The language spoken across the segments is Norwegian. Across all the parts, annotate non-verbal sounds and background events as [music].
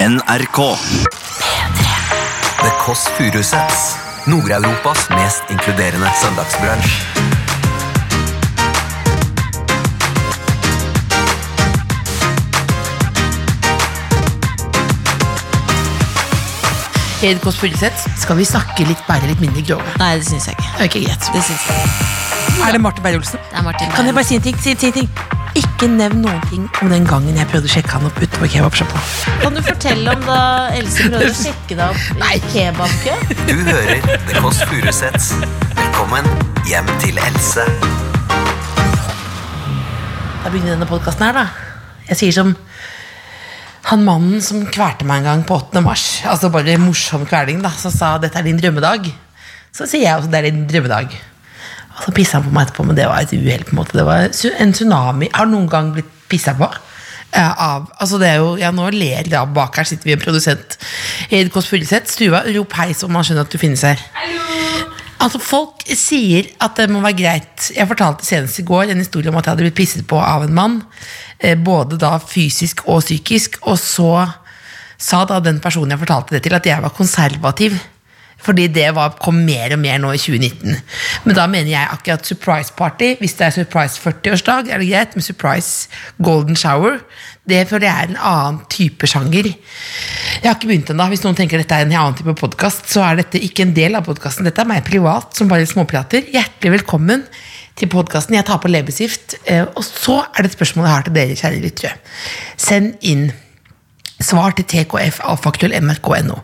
NRK. The Kåss Furuseths. Nord-Europas mest inkluderende søndagsbransj. Hed Kåss Furuseth, skal vi snakke litt bare litt mindre grove. Nei, det syns jeg ikke. Det er ikke greit. Det synes jeg. Er det Marte Berre-Olsen? Det er Martin Kan jeg bare si en ting? Si, si en ting? Ikke nevn noen ting om den gangen jeg prøvde å sjekke han opp utenfor kebabsjappa. Kan du fortelle om da Else [laughs] prøvde å sjekke deg opp i kebabkø? Du hører The Kåss Furuseths. Velkommen hjem til Else. Da begynner denne podkasten her, da. Jeg sier som han mannen som kvelte meg en gang på 8. mars. Altså bare morsom kveling, da. Som sa 'dette er din drømmedag'. Så sier jeg også 'det er din drømmedag'. Og så pissa han på meg etterpå, men det var et uhell. på en måte. Det var su- en tsunami. Har du noen gang blitt pissa på? Eh, av, altså det er jo, ja, Nå ler jeg av bak her, sitter vi en produsent. Hed Kåss Furuseth, stua, rop hei så man skjønner at du finnes her. Altså Folk sier at det må være greit. Jeg fortalte senest i går en historie om at jeg hadde blitt pisset på av en mann. eh, Både da fysisk og psykisk. Og så sa da den personen jeg fortalte det til, at jeg var konservativ. Fordi det var, kom mer og mer nå i 2019. Men da mener jeg akkurat surprise party. Hvis det er surprise 40-årsdag, er det greit. Men surprise golden shower, det føler jeg er en annen type sjanger. Jeg har ikke begynt ennå. Hvis noen tenker dette er en annen type podkast, så er dette ikke en del av podkasten. Dette er meg privat som bare småprater. Hjertelig velkommen til podkasten. Jeg tar på leppestift. eh, Og så er det et spørsmål jeg har til dere, kjære lyttere. Send inn Svar til tkfalfaktuellmrk.no.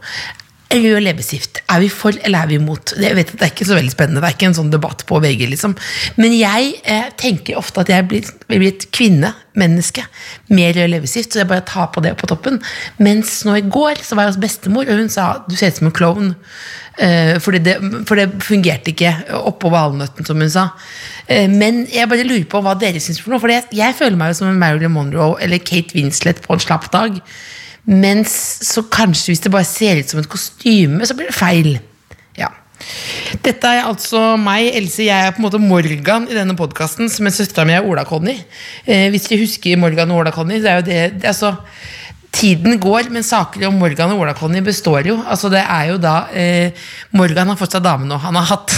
Rød leppestift. Er vi for eller er vi imot? Det- Jeg vet at Det er ikke så veldig spennende. Det er ikke en sånn debatt på VG. liksom. Men jeg eh, tenker ofte at jeg blir, blir et kvinnemenneske med rød leppestift. Så jeg bare tar på det på toppen. Mens nå i går så var jeg hos bestemor, og hun sa du ser ut som en klovn. Eh, fordi det, for det fungerte ikke oppå valnøtten, som hun sa. Eh, men jeg bare lurer på hva dere syns. For noe, for jeg, jeg føler meg jo som en Marilyn Monroe eller Kate Winslet på en slapp dag. Mens så kanskje hvis det bare ser ut som et kostyme, så blir det feil. Ja. Dette er altså meg, Else. Jeg er på en måte Morgan i denne podkasten, som er søstera mi er Ola-Conny. Eh, hvis dere husker Morgan og Ola-Conny, det er jo det, det er så Tiden går, men saker om Morgan og Ola-Conny består jo. Altså det er jo da eh, Morgan har fått seg dame nå. Han har hatt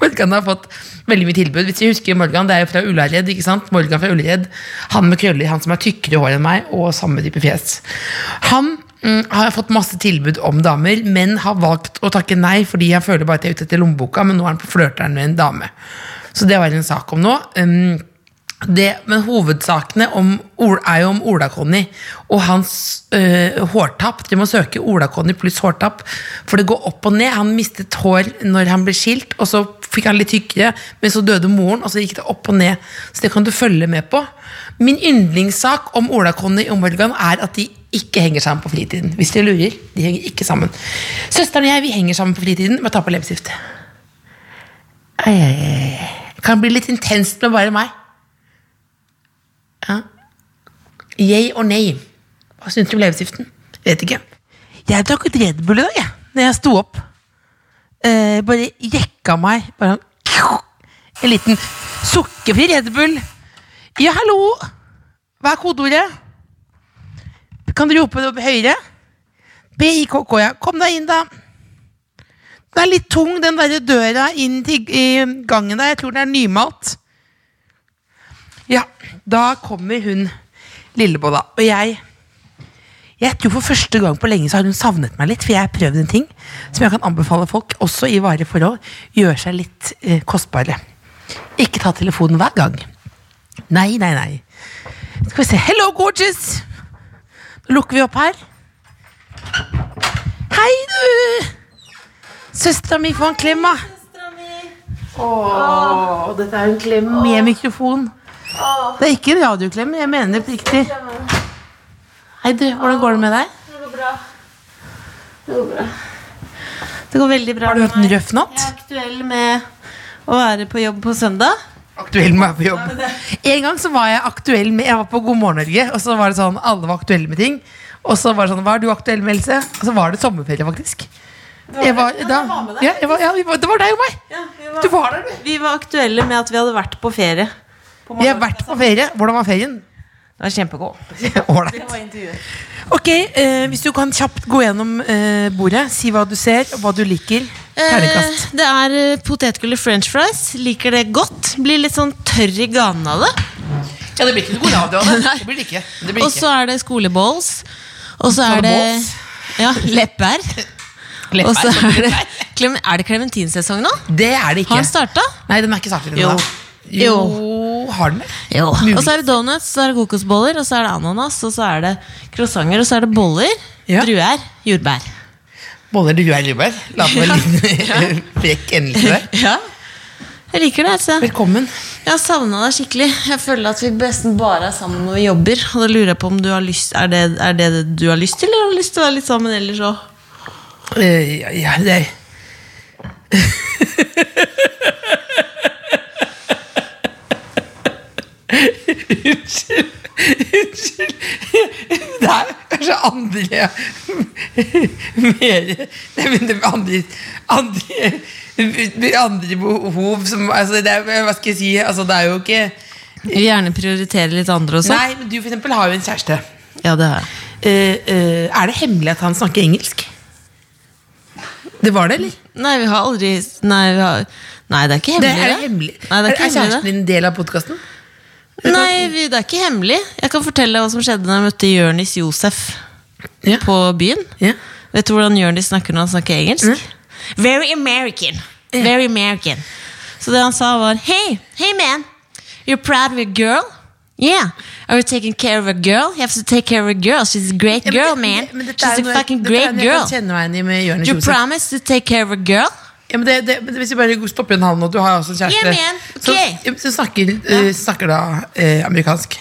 Morgan har fått veldig mye tilbud. Hvis jeg husker Morgan, det er jo fra Ullared. ikke sant? Morgan fra Ullared, Han med krøller, han som er tykkere hår enn meg, og samme type fjes. Han mm, har fått masse tilbud om damer, men har valgt å takke nei fordi han føler bare at jeg er ute etter lommeboka, men nå er han på flørteren med en dame. Så det var en sak om nå. Um, det, men hovedsakene om, Ol- er jo om Ola-Conny og hans øh, hårtapp. De må søke Ola-Conny pluss hårtapp, for det går opp og ned. Han mistet hår når han ble skilt, og så fikk han litt tykkere, men så døde moren, og så gikk det opp og ned. Så det kan du følge med på. Min yndlingssak om Ola-Conny og Morgan er at de ikke henger sammen på fritiden. Hvis dere lurer, de henger ikke sammen. Søsteren og jeg vi henger sammen på fritiden med å ta på leppestift. Ai, ai, ai. Kan bli litt intenst med bare meg. Jeg og nei. Hva syns du om leppestiften? Vet ikke. Jeg drakk et Red Bull i dag, jeg. Når jeg sto opp. Eh, bare jekka meg. Bare sånn, en liten sukkerfri Red Bull. Ja, hallo! Hva er kodeordet? Kan du rope det opp høyere? BIKK, ja. Kom deg inn, da. Den er litt tung, den derre døra inn til i gangen der. Jeg tror den er nymalt. Ja, da kommer hun Lillebolla. Og jeg Jeg tror for første gang på lenge så har hun savnet meg litt, for jeg har prøvd en ting som jeg kan anbefale folk, også i varige forhold, gjør seg litt eh, kostbare. Ikke ta telefonen hver gang. Nei, nei, nei. Skal vi se. Hello, gorgeous! Nå lukker vi opp her. Hei, du! Søstera mi, få en klem, da. Åh, dette er jo en klem med mikrofon. Det er ikke en radioklem, jeg mener det riktig. Hei du, hvordan går det med deg? Det går bra. Det går bra. Det går veldig bra Har du hatt en med meg. røff natt? Jeg er aktuell med å være på jobb på søndag. Aktuell med å være på jobb. En gang så var jeg aktuell med Jeg var på God morgen Norge, og så var det sånn alle var aktuelle med ting. Og så var det sånn Hva er du aktuell med, Else? Og så var det sommerferie, faktisk. Jeg var, Ja, jeg da, var med deg. ja, jeg var, ja, vi var- det var deg og meg. vi, Du var, var der, du. aktuelle med at vi hadde vært på ferie. Vi har vært på ferie. Hvordan var ferien? Den er kjempegod. [laughs] Ålreit. intervjuet. Ok, eh, hvis du kan kjapt gå gjennom eh, bordet, si hva du ser, og hva du liker. Terningkast. Eh, det er eh, potetgull i french fries. Liker det godt. Blir litt sånn tørr i ganen av det. Ja, det blir ikke noe god radio av det. Nei. Det blir det ikke. Det blir Og ikke. så er det skoleballs. Og så er det Skoleballs? ja, lepper. [laughs] Lepper, Og så lepper, er det, klem- er det clementinsesong nå? Det er det ikke. Har den starta? Nei, den er ikke startet Jo. ennå. Jo. Har den det? Jo. Mulig. Og så er det donuts, så er det kokosboller, og så er det ananas, og så er det croissanter, og så er det boller, Ja. druer, jordbær. Boller du er Lubær. La det være [laughs] en liten frekk endelse [laughs] der. Ja. Jeg liker det. altså Velkommen. Jeg har savna deg skikkelig. Jeg føler at vi nesten bare er sammen når vi jobber. Og da lurer jeg på om du har lyst Er det er det, det du har lyst til, eller har du lyst til å være litt sammen ellers òg? Eh, ja, ja, det er Unnskyld. Unnskyld. Det er kanskje andre Mer Nei, men det er andre, andre, andre behov som altså, det er, Hva skal jeg si? Altså, det er jo ikke Vil gjerne prioritere litt andre også. Nei, men du for eksempel har jo en kjæreste. Ja, det har jeg. Eh, eh, er det hemmelig at han snakker engelsk? Det var det, eller? Nei, vi har aldri Nei, vi har, nei det er ikke Det hemmelig. er hemmelig. Nei, det er er, ikke kjæresten hemmelig. din en del av podkasten? Det. Nei, vi, det er ikke hemmelig. Jeg kan fortelle hva som skjedde da jeg møtte Jørnis Josef Ja. på byen. Ja. Vet du hvordan Jørnis snakker når han snakker engelsk? Mm. Very American. Very American. Så det han sa var Hey, hey man, you're proud of your girl? Yeah. Are you taking care of a girl? You have to take care of a girl. She's a great girl, man. Men dette She's er a noe jeg- fucking dette er great noe girl. Jeg kan kjenne meg igjen i med Jonis Do you Josef. promise to take care of a girl? Ja, men det, det, men hvis vi bare stopper en halv nå, du har også en kjæreste Yeah, man. Okay. som, som snakker, eh, snakker da eh, amerikansk.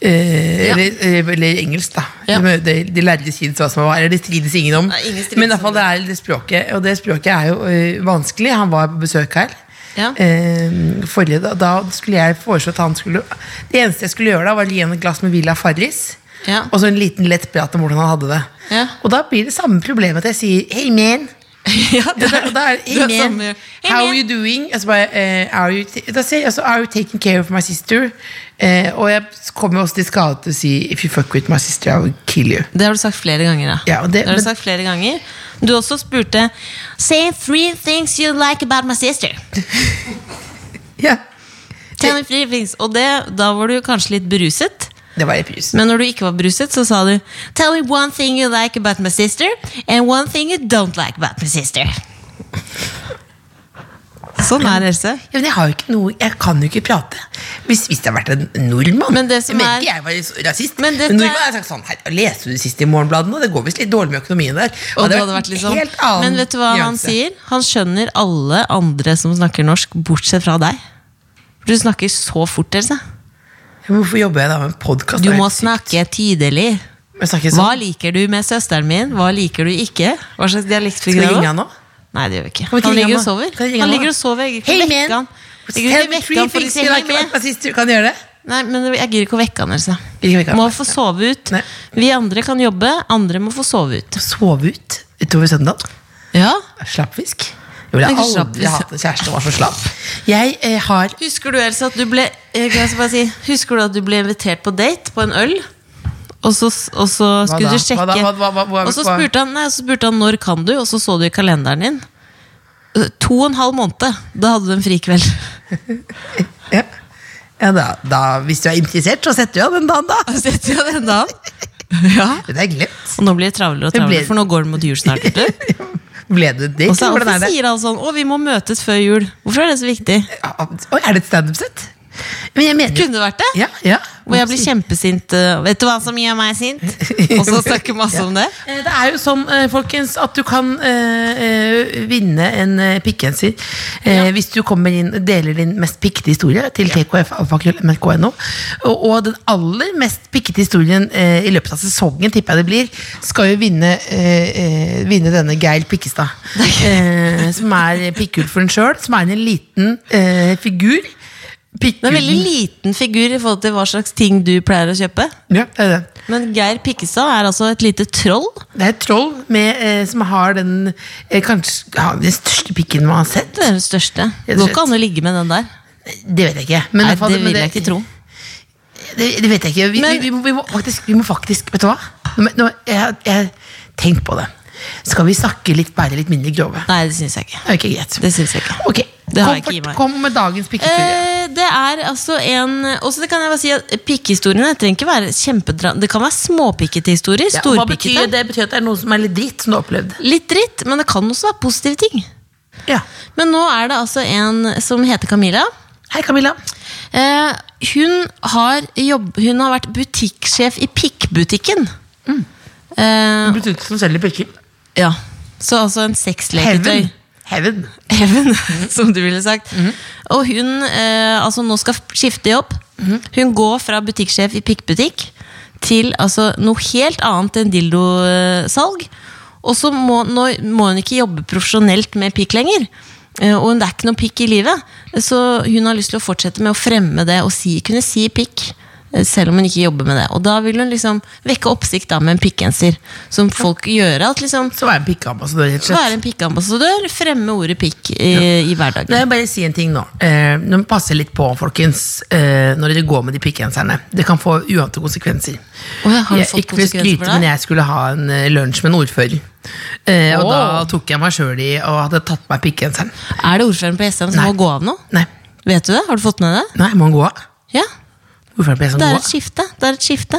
Eh, eller, eh, eller engelsk, da. Ja. De, de, de lærde sies hva som var, eller det strides ingen om. Nei, ingen strides men i hvert fall det er det språket, og det språket er jo eh, vanskelig. Han var på besøk her. Ja. Eh, forrige, da, da skulle jeg foreslå at han skulle Det eneste jeg skulle gjøre da, var å gi ham et glass med Villa Farris. Ja. Og så en liten lett prat om hvordan han hadde det. Ja. Og da blir det samme problemet at jeg sier 'Hey, man'. [laughs] ja, [laughs] Ja, da- [laughs] og da er det, Du er sånn, eh, hey man, sammen med- Hey, how man. are you doing? Altså bare, eh, are you ta- da sier jeg altså, are you taking care of my sister? Eh, og jeg kommer også til skade til å si if you fuck with my sister, I will kill you. Det har du sagt flere ganger, da. Ja, og det- har du men- sagt flere ganger. Du også spurte Say three things you like about my sister. Ja, Tell me three things. Og det, da var du kanskje litt beruset. det var helt pys. Men når du ikke var beruset, så sa du Tell me one thing you like about my sister And one thing you don't like about my sister Sånn er det, Else Ja, men jeg, har jo ikke noe, jeg kan jo ikke prate. Hvis, hvis det har vært en nordmann. Men det som jeg er- mener ikke jeg var så- rasist. Men Men, dette nordmann er- har sagt sånn her, Leste du det siste i Morgenbladet nå? Det går visst litt dårlig med økonomien der. Og Hadde det hadde vært en litt sånn. helt annen Men vet du hva han nyanse. sier? Han skjønner alle andre som snakker norsk Bortsett fra deg Du snakker så fort, Else Ja, men Hvorfor jobber jeg da med en podkast? Du må snakke tydelig Hva Sånn. liker du med søsteren min? Hva liker du ikke? Hva slags dialekt fikk Skal vi du? ringe han nå? Nei, det gjør vi ikke. Kan vi ikke Han ringe ligger og han da? sover. Kan vi ringe Han han ligger da? og sover. Jeg Hey, gidder ikke man. vekke han. Jeg gidder ikke vekke han for å si hei, man. Kan gjøre det? Nei, men jeg gidder ikke å vekke han. Else. Gidder ikke vekke han. Må få sove ut. Nei. Vi andre kan jobbe, andre må få sove ut. Sove ut utover søndag. Ja. Slappfisk. Jo, jeg Ikke har slappfisk. aldri hatt en kjæreste som var så slapp. Jeg eh, har Husker du Else, at du ble eh, kan jeg bare si, Husker du at du ble invitert på date på en øl? Og så, og så skulle da? du sjekke Hva da? Hva- hva- hva- hva- Og så hva- spurte, han, nei, så spurte han når kan du, og så så du i kalenderen din. Eh, To og en halv måned. Da hadde du en frikveld. Ja, ja da, da, hvis du er interessert, så setter du av den dagen, da. Setter jeg den da? Ja. Det er glemt. Og nå blir det travlere og Det travlere, ble- for nå går det mot jul snart. [laughs] vet du Ble det det? Og så Hvordan hvorfor er det? sier alle sånn 'Å, vi må møtes før jul'? Hvorfor er det så viktig? Oi, er det et standup-sett? Men jeg mener Kunne det vært det? Ja, ja. Hvor jeg blir kjempesint. eh, Vet du hva som gjør meg [laughs] sint? Og så snakker masse om det. Eh, Det er jo sånn, eh, folkens, at du kan eh, eh, vinne en eh, pikkgenser eh, hvis du kommer inn og deler din mest pikkete historie til tkf.nrk.no. Og, og den aller mest pikkete historien eh, i løpet av sesongen, tipper jeg det blir, skal jo vinne, eh, eh, vinne denne Geil Pikkestad. Eh, som er Pikkulfen sjøl, som er en liten eh, figur. Det er en veldig Pikkulfen. liten figur i forhold til hva slags ting du pleier å kjøpe. Ja, det er det. Men Geir Pikkestad er altså et lite troll. Det er et troll med, eh, som har den eh, kanskje ja, den største pikken man har sett. Det er den største. Det Helt går ikke rett. an å ligge med den der. Det vet jeg ikke. Men i Nei, hvert fall- det men vil jeg ikke tro. Det, det vet jeg ikke. Vi, Men- vi, vi, må, vi, må faktisk, vi må faktisk Vet du hva? Nå, må- nå, jeg jeg tenk på det. Skal vi snakke litt, være litt mindre grove? Nei, det syns jeg ikke. Det er ikke greit. Det synes jeg ikke. Ok, Det har kom, jeg ikke i for- meg. kom med dagens pikketur. Eh, det er altså en Også det kan jeg bare si at Pikkehistoriene trenger ikke være kjempedra... Det kan være småpikkete historier. Ja, hva betyr storpikkete. det? betyr at det er noe som er litt dritt, som du har opplevd. Litt dritt, men det kan også være positive ting. Ja. Men nå er det altså en som heter Camilla. Hei, Camilla. Eh, hun, har jobb, hun har vært butikksjef i Pikkbutikken. Eh, Butikk som selger pikker. ja. Så altså en sexleketøy. Heaven. Heaven. Even, [laughs] som du ville sagt. Og hun eh, altså nå skal skifte jobb. Hun går fra butikksjef i pikkbutikk til altså, noe helt annet enn dildosalg. Og så må, nå må hun ikke jobbe profesjonelt med pikk lenger. Eh, Og hun, det er ikke noe pikk i livet, så hun har lyst til å fortsette med å fremme det og si, kunne si pikk. eh, Selv om hun ikke jobber med det. Og da vil hun liksom vekke oppsikt da med en pikkgenser. Som folk gjør at liksom Så er en pikkeambassadør, rett og slett. være en pikkambassadør, fremme ordet pikk i, i hverdagen. Nå vil jeg bare si en ting nå. Eh, nå må vi passe litt på, folkens, eh, når dere går med de pikkgenserne. Det kan få uante konsekvenser. Å ja, har det jeg, fått ikke for å konsekvenser for skryte, deg? men jeg skulle ha en eh, lunsj med en ordfører. Eh, og Åh. da tok jeg meg sjøl i og hadde tatt på meg pikkgenseren. Er det ordføreren på Jessheim som Nei. må gå av nå? Nei, Vet du det? Har du fått med det? nei, må han gå av? Ja, Ordføreren ble sånn det er gå et av. skifte. Det er et skifte.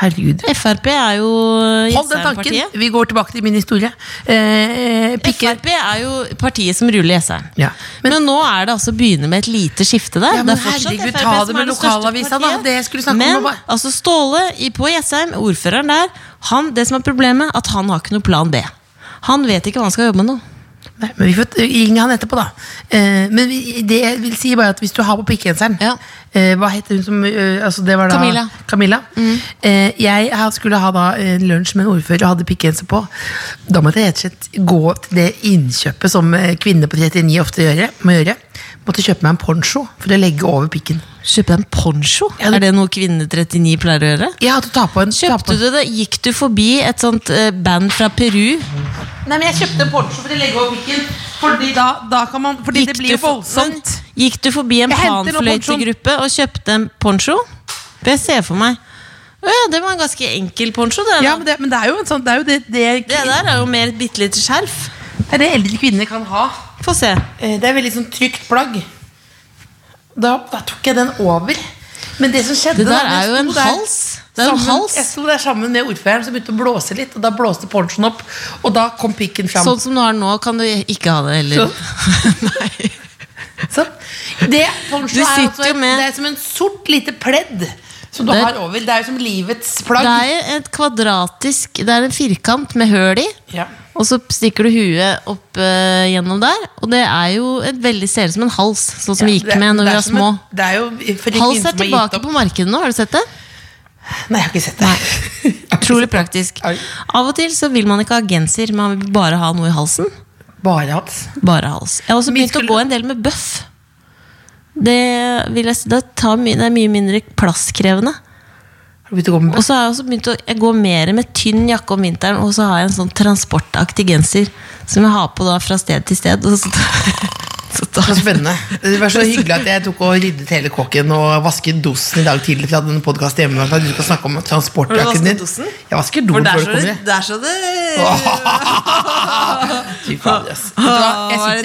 Herregud. Frp er jo Hold den tanken! Jessheim-partiet. Vi går tilbake til min historie. Eh, pikke... Frp er jo partiet som ruller Jessheim. Ja. Men, nå er det altså begynner med et lite skifte der. Ja, men det er fortsatt herregud, FrP ta det som med er største lokalavisa, da. partiet. Det jeg skulle snakke om men, nå, bare- altså Ståle i, på Jessheim, ordføreren der, han, det som er problemet, at han har ikke noe plan B. Han vet ikke hva han skal jobbe med nå. Nei, men vi får ringe han etterpå, da. Eh, men vi, det jeg vil si bare at hvis du har på pikkgenseren Ja. eh, Hva heter hun som eh, altså det var da, Camilla. Mm. Camilla. Eh, jeg ha- skulle ha da en lunsj med en ordfører og hadde pikkgenser på. Da måtte jeg rett og slett gå til det innkjøpet som eh, kvinner på 39 ofte gjør, må gjøre. Måtte kjøpe meg en poncho for å legge over pikken. Kjøpe deg en poncho? Ja, det- Er det noe kvinne 39 pleier å gjøre? Jeg hadde ta på en ta på- Kjøpte du det? Gikk du forbi et sånt eh, band fra Peru? Nei, men jeg kjøpte en poncho for å legge over pikken. Fordi da, da kan man Fordi Gikk du for- Men Gikk du forbi en Jeg henter nå panfløytegruppe og kjøpte en poncho? Det ser jeg for meg. Å ja, det var en ganske enkel poncho. Det, Ja, da. men det, men det er jo en sånn Det er jo det, det, det der er jo mer et bitte lite skjerf. det, er det eldre kvinner kan ha. Få se. Eh, Det er veldig sånn trygt plagg. Da, da tok jeg den over. Men det som skjedde Det der da, er jeg jo en sto der hals. Det er jo en sammen- hals. Jeg sto der sammen med ordføreren, som begynte å blåse litt. Og da blåste ponchoen opp, og da kom pikken fram. [laughs] Sånn som du har den nå, kan du ikke ha det heller. Nei. Sånn. Det, poncho Du er, sitter altså, jo et- med- det er som en sort lite pledd som du Det- har over. Det er jo som livets Det plagg. er jo et kvadratisk Det er en firkant med høl i. Ja. Og så stikker du huet opp eh, gjennom der, og det er jo et veldig ser ut som en hals, sånn som vi gikk Det er- med når det vi er var som små. en- det er jo for de Hals er kvinner som har gitt tilbake opp. på markedet nå, har du sett det? Nei, [laughs] jeg har ikke sett det. Utrolig praktisk. Oi. Av og til så vil man ikke ha genser, man vil bare ha noe i halsen. Bare hals. Bare hals. Jeg har også Vi begynt skulle- å gå en del med bøff. Det, vil jeg, si, det, tar mye, det er mye mindre plasskrevende. Har du begynt å gå med Og så har jeg også begynt å jeg går mer med tynn jakke om vinteren, og så har jeg en sånn transportaktig genser som jeg har på da fra sted til sted. Og så, [laughs] så tar Så spennende. Det var så hyggelig at jeg tok og ryddet hele kåken og vasket dosen i dag tidlig. For jeg hadde en podcast hjemme for at du skal snakke om Har du transportjakken vasket din. dosen? Jeg vasker doen før du kommer. der så det Fy fader, ass. Vet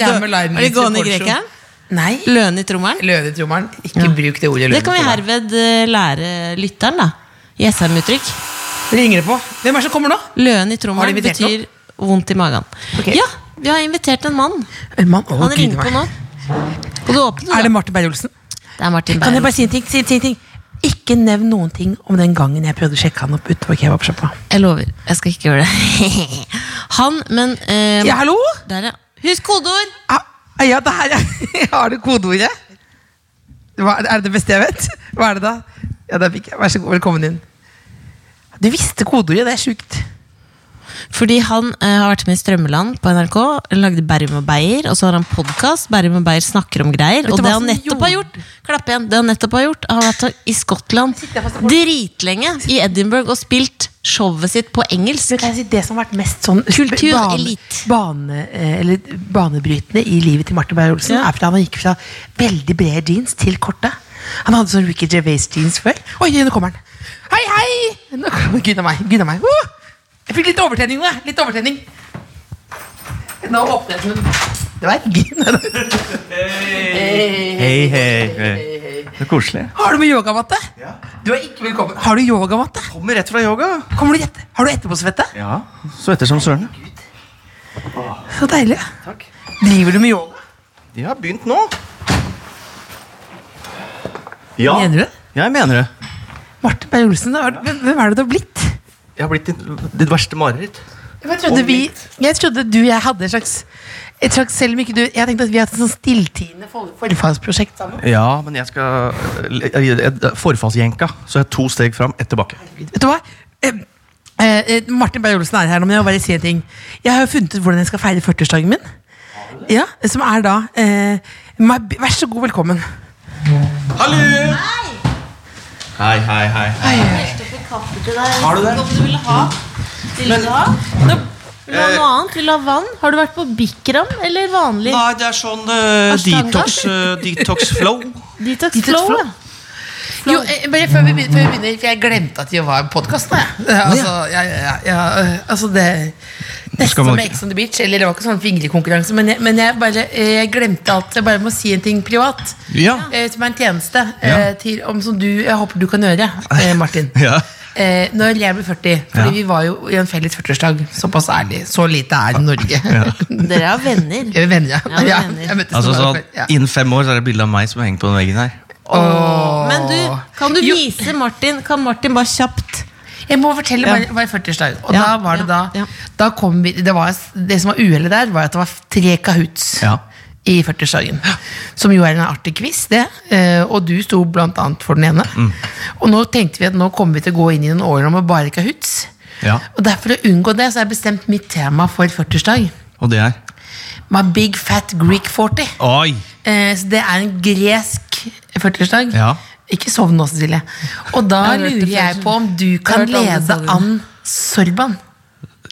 Var det du hva? Jeg sitter her med dø- lime var det juice og gående poncho. grekeren? Nei. Løne i trommelen? Løvetrommeren. Ikke bruk det ordet. Det kan vi løvetrommeren. herved eh, lære lytteren, da. I SRM-uttrykk. Ringer det på? Hvem er det som kommer nå? Løne i Har de trommelen invitert betyr vondt i magen. Ok. Ja, vi har invitert en mann. En mann. Å, Han Gud, ringer meg. på nå. Og du åpner, Er da. det Marte Berg-Olsen? Det er Martin Kan jeg Beyer. bare si en ting? Si, si en ting? Ikke nevn noen ting om den gangen jeg prøvde å sjekke han opp utenfor kebabsjappa. Jeg lover. Jeg skal ikke gjøre det. [laughs] Han, men eh, Ja, hallo? Der, ja. Husk kodeord! Ah, Ja, det her [laughs] er Har du kodeordet? Hva, er det det beste jeg vet? Hva er det da? Ja, der fikk jeg. Vær så god, velkommen inn. Du visste kodeordet, det er sjukt. Fordi han eh, har vært med i Strømmeland på NRK. Lagde Berrum og Beyer, og så har han podkast. Berrum og Beyer snakker om greier. du Og hva det han som nettopp har gjorde- gjort, klapp igjen, det han nettopp har gjort, har vært i Skottland jeg fast på- dritlenge, i Edinburgh, og spilt showet sitt på engelsk. Kan jeg si det som har vært mest sånn Kultur, bane- elit. bane, eh, eller banebrytende i livet til Marte Beyer-Olsen, Ja. er fordi han gikk fra veldig brede jeans til korte. Han hadde sånn Ricky Gervais-jeans før. Oi, nå kommer han. Hei, hei! Nå kommer Gud a meg. Gud a meg. Uh! Jeg fikk litt overtenning nå. jeg. Litt overtenning. Nå åpnet hun dverg. Hei, hei, hei. Så koselig. Har du med yogamatte? Du er ikke velkommen. Har du yogamatte? Kommer rett fra yoga. Kommer du etter? Har du etterpåsvette? Ja, så etter som søren. Så deilig. Takk. Driver du med yoga? De har begynt nå. Ja. Mener du det? Jeg mener det. Marte Berg Olsen, da, hvem hvem er det du har blitt? Jeg har blitt ditt, ditt verste mareritt. Jeg trodde, vi, jeg trodde du og jeg hadde en slags, et slags Selv om ikke du Jeg tenkte at vi hadde et sånn stilltiende for- forfagsprosjekt sammen. Ja, men jeg skal jeg- jeg- Forfallsjenka. Så jeg er to steg fram, ett tilbake. Vet du hva? Eh, eh, Martin Berg-Olsen er her nå, men jeg må bare si en ting. Jeg har jo funnet ut hvordan jeg skal feire 40-årsdagen min. Ja, Som er da eh, my, Vær så god, velkommen. Hallo! Hei, hei, hei. Har du det? Om du ville ha. Vil du ha? Vil du ha Eh. noe annet? Vil du ha vann? Har du vært på Bikram eller vanlig Nei, det er sånn eh, Ashtanga? detox, eh, detox flow. Detox Flow? Detox Flow? ja? Jo, eh, bare før vi begynner, før vi begynner For jeg glemte at det var en podkast. Altså, ja, ja, ja, ja, eh, altså det Nesten Skal man som ikke- Ex on the Beach. Eller det var ikke sånn vinglekonkurranse, men, jeg, men jeg, bare, eh, jeg glemte alt. Jeg bare må si en ting privat. Ja. Eh, som er en tjeneste eh, til, om, som du, jeg håper du kan gjøre, eh, Martin. [laughs] Ja. Eh, når jeg blir 40, fordi Ja. vi var jo i en felles 40-årsdag. Såpass ærlig. Så lite er Norge. Dere er venner. [laughs] [laughs] Jeg er venner, ja. Ja, vi er ja. venner. jeg møttes Altså noen sånn, ganger før, ja. Innen fem år så er det bilde av meg som er hengt på den veggen her. Men du, kan du Jo. vise Martin? Kan Martin bare kjapt Jeg må fortelle Ja. hva- hva i 40-årsdag. Og Ja, da var det ja, da, ja. da kom vi, det, var, det som var uhellet der, var at det var tre kahoots Ja. i 40-årsdagen. Som jo er en artig quiz, det. eh, Og du sto blant annet for den ene. Mm. Og nå tenkte vi at nå kommer vi til å gå inn i noen år med bare kahoots. Ja. Og derfor å unngå det, så har jeg bestemt mitt tema for 40-årsdag. Og det er My big fat Greek 40. Oi! Eh, Så det er en gresk 40-årsdag. Ja. Ikke sovn nå, Cecilie. Og da [laughs] Jeg har hørt det lurer jeg før. på om du kan hørt alle lede sangene. an Sorban.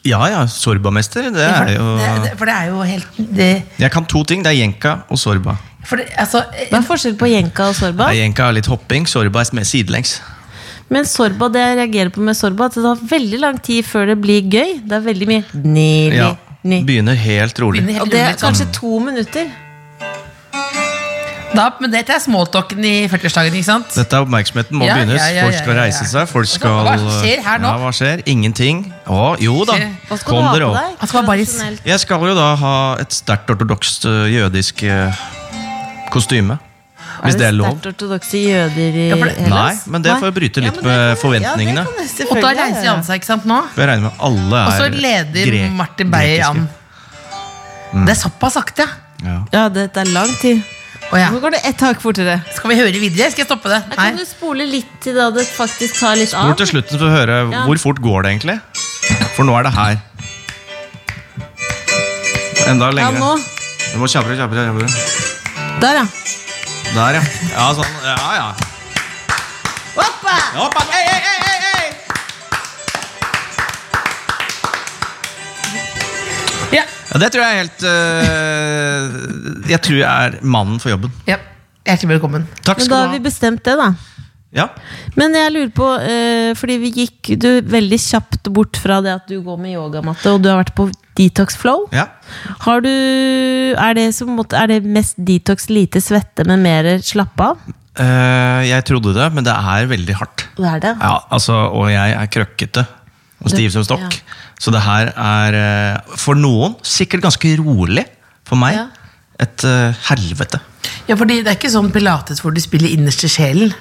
Ja ja, sorbamester. Det er det jo. Det- det- For det er jo helt det, Jeg kan to ting. Det er jenka og sorba. for det, altså, Hva er forskjellen på jenka og sorba? Nei, Jenka er litt hopping, sorba er mer sidelengs. Men sorba, det jeg reagerer på med sorba, at det tar veldig lang tid før det blir gøy. Det er veldig mye ni, ni, Ja, ni. Begynner helt rolig. Begynner helt- Og det er rolig, kanskje to minutter. da, Men dette er smalltalken i 40-årsdagen, ikke sant? Dette er oppmerksomheten må Ja, begynnes. ja, ja, folk ja, ja, skal ja. reise seg. Folk skal Hva skjer her nå? Ja, hva skjer? Ingenting. Å, jo da. Hva skal Kom du dere ha på opp. deg? Han skal ha baris. Tradisjonelt. Jeg skal jo da ha et sterkt ortodokst ø, jødisk ø, kostyme. Hvis det er lov. sterkt ortodokse jøder i Ja, for det- Nei, Hellas? men det får jeg bryte litt men det med kan- forventningene. Ja, det kan jeg Og da selvfølgelig reiser gjøre. han seg, ikke sant, nå? For jeg regner med alle Og er så leder grek- Martin Beyer an. grekiske. Mm. Det er såpass sakte, ja. Ja. Ja, dette er lang tid. Å, ja. Nå går det ett hakk fortere. Skal vi høre videre? Skal jeg stoppe det? Her kan Nei. du spole litt til da det faktisk tar litt Hvor av. til slutten for å høre Ja. hvor fort går det egentlig? For nå er det her. Enda Ja, lengre. nå. Du må kjappere, kjappere, kjappere. Der, ja. Der, ja. Ja, sånn. Ja, ja. Hoppa! Hoppa. Ei, ei, ei, ei, ei! Ja. Ja, det tror jeg er helt øh, Jeg tror jeg er mannen for jobben. ja. Hjertelig velkommen. Takk Men da skal har vi du ha. bestemt det, da. Ja. Men jeg lurer på, eh, fordi vi gikk du veldig kjapt bort fra det at du går med yogamatte, og du har vært på detox flow. ja. Har du, er, det som, måte- er det mest detox lite svette, men mer slappe av? Eh, jeg trodde det, men det er veldig hardt. Det er det. Ja, altså, og jeg er krøkkete og stiv som stokk. Ja. Så det her er eh, for noen sikkert ganske rolig. For meg Ja. et eh, helvete. Ja, fordi det er ikke sånn pilates hvor du spiller innerste sjelen.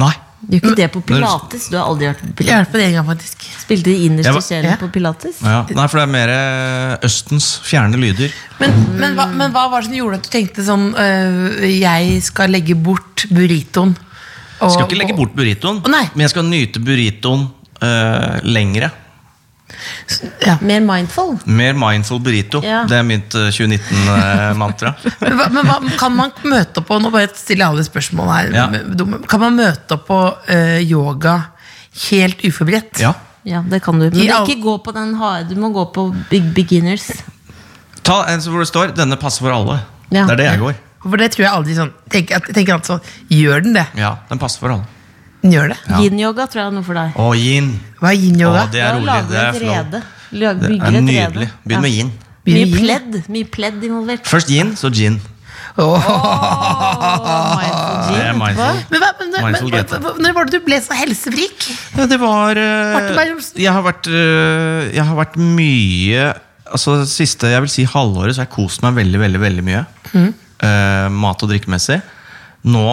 Nei. Du gjør ikke det på pilates. Du har aldri vært på Jeg pilates. har hørt på det en gang, faktisk. Spilte de Jeg innerste var- sjelen Ja. på pilates? Ja, nei, for det er mer eh, Østens fjerne lyder. Men, men, hva, men hva var det som gjorde at du tenkte sånn øh, Jeg skal legge bort burritoen. og- Jeg skal ikke legge bort burritoen, Å, nei. men jeg skal nyte burritoen eh, lengre. Ja. Mer mindful? Mer mindful burrito. Ja. Det er mitt eh, [laughs] 2019-mantra. Men, hva, men hva, kan man møte opp på Nå bare stiller jeg alle spørsmål her. Ja. m- dumme. Kan man møte opp på øh, yoga helt uforberedt? ja. Ja, det kan du. Men I all- ikke gå på den harde. Du må gå på big beginners. eh, Ta en som hvor det står 'Denne passer for alle'. Ja. Det er det jeg går. For det tror jeg aldri sånn tenker, at- tenker alltid sånn, Gjør den det? Ja, den passer for alle. Den gjør det. Ja. Yin-yoga tror jeg er noe for deg. Å, yin! Hva er yin-yoga? Å, det er Da rolig. lager Det du er et flow. rede. Lag- Det bygger er et nydelig. rede. Begynn med Ja. yin. Begynn Mye med yin. pledd. Mye pledd involvert. Først yin, så gin. Åh, mindful Ah, Det er gym etterpå. mindful. Men, hva, men, men, Mindful hva- Grete. hva- når var det du ble så helsefrik? Ja, det var eh, Marte Berg-Olsen. Jeg har vært eh, Jeg har vært mye Altså det siste jeg vil si halvåret Så har jeg kost meg veldig, veldig, veldig mye Eh, Mat og drikkemessig Nå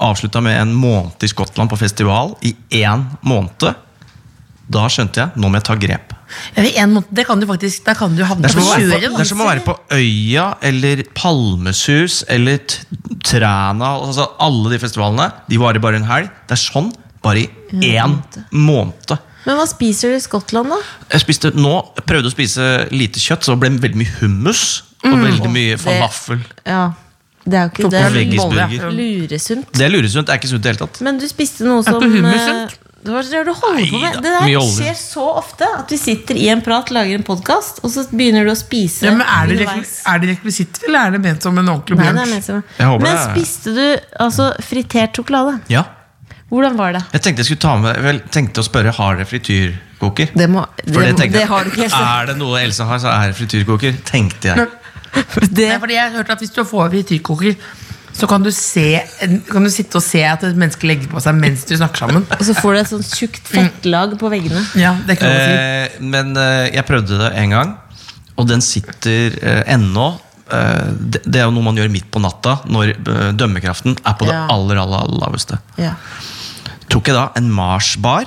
avslutta med en måned i Skottland På festival I en måned Da skjønte jeg, nå må jeg ta grep Ja, i en måned, det kan du faktisk, da kan du havne det er, på altså. kjøret. som å være på, det er som å være på øya Eller palmesus Eller t- Træna altså, Alle de festivalene, de varer bare en helg Det er sånn, bare i en måned Men hva spiser du i Skottland, da? Jeg spiste nå, jeg prøvde å spise lite kjøtt, så det ble veldig mye hummus. Og Mm. veldig mye falafel. Ja, det er jo ikke det. Og er veggisburger. Luresunt. Det er luresunt. Det er ikke sunt i det hele tatt. Men du spiste noe som på hummus, eh, sant? det var det du holder på med. Neida, Det mye der olje. skjer så ofte at vi sitter i en prat, lager en podkast, og så begynner du å spise ja, men er det, underveis. rekvi- er det rekvisitter, eller er det ment som en ordentlig Nei, det er lunsj? ment som- Jeg håper Men det er- spiste du altså, fritert sjokolade? Ja. Hvordan var det? Jeg tenkte jeg skulle ta med Vel, tenkte å spørre har dere frityrkoker. Det, må, For det, det, tenkte det jeg, Ah. har du ikke. Else. Er det noe Else har, så er det frityrkoker. Tenkte jeg. [laughs] Det, Nei, fordi jeg har hørt at hvis du får frityrkoker, så kan du, se, kan du sitte og se at et menneske legger på seg mens du snakker sammen. og så får du et sånt tjukt fettlag på veggene. Ja, det kan man si. Eh, men eh, jeg prøvde det en gang, og den sitter eh, ennå. Eh, det, det er jo noe man gjør midt på natta, når eh, dømmekraften er på det Ja. aller, aller, aller laveste. Ja. Tok jeg da en Mars-bar.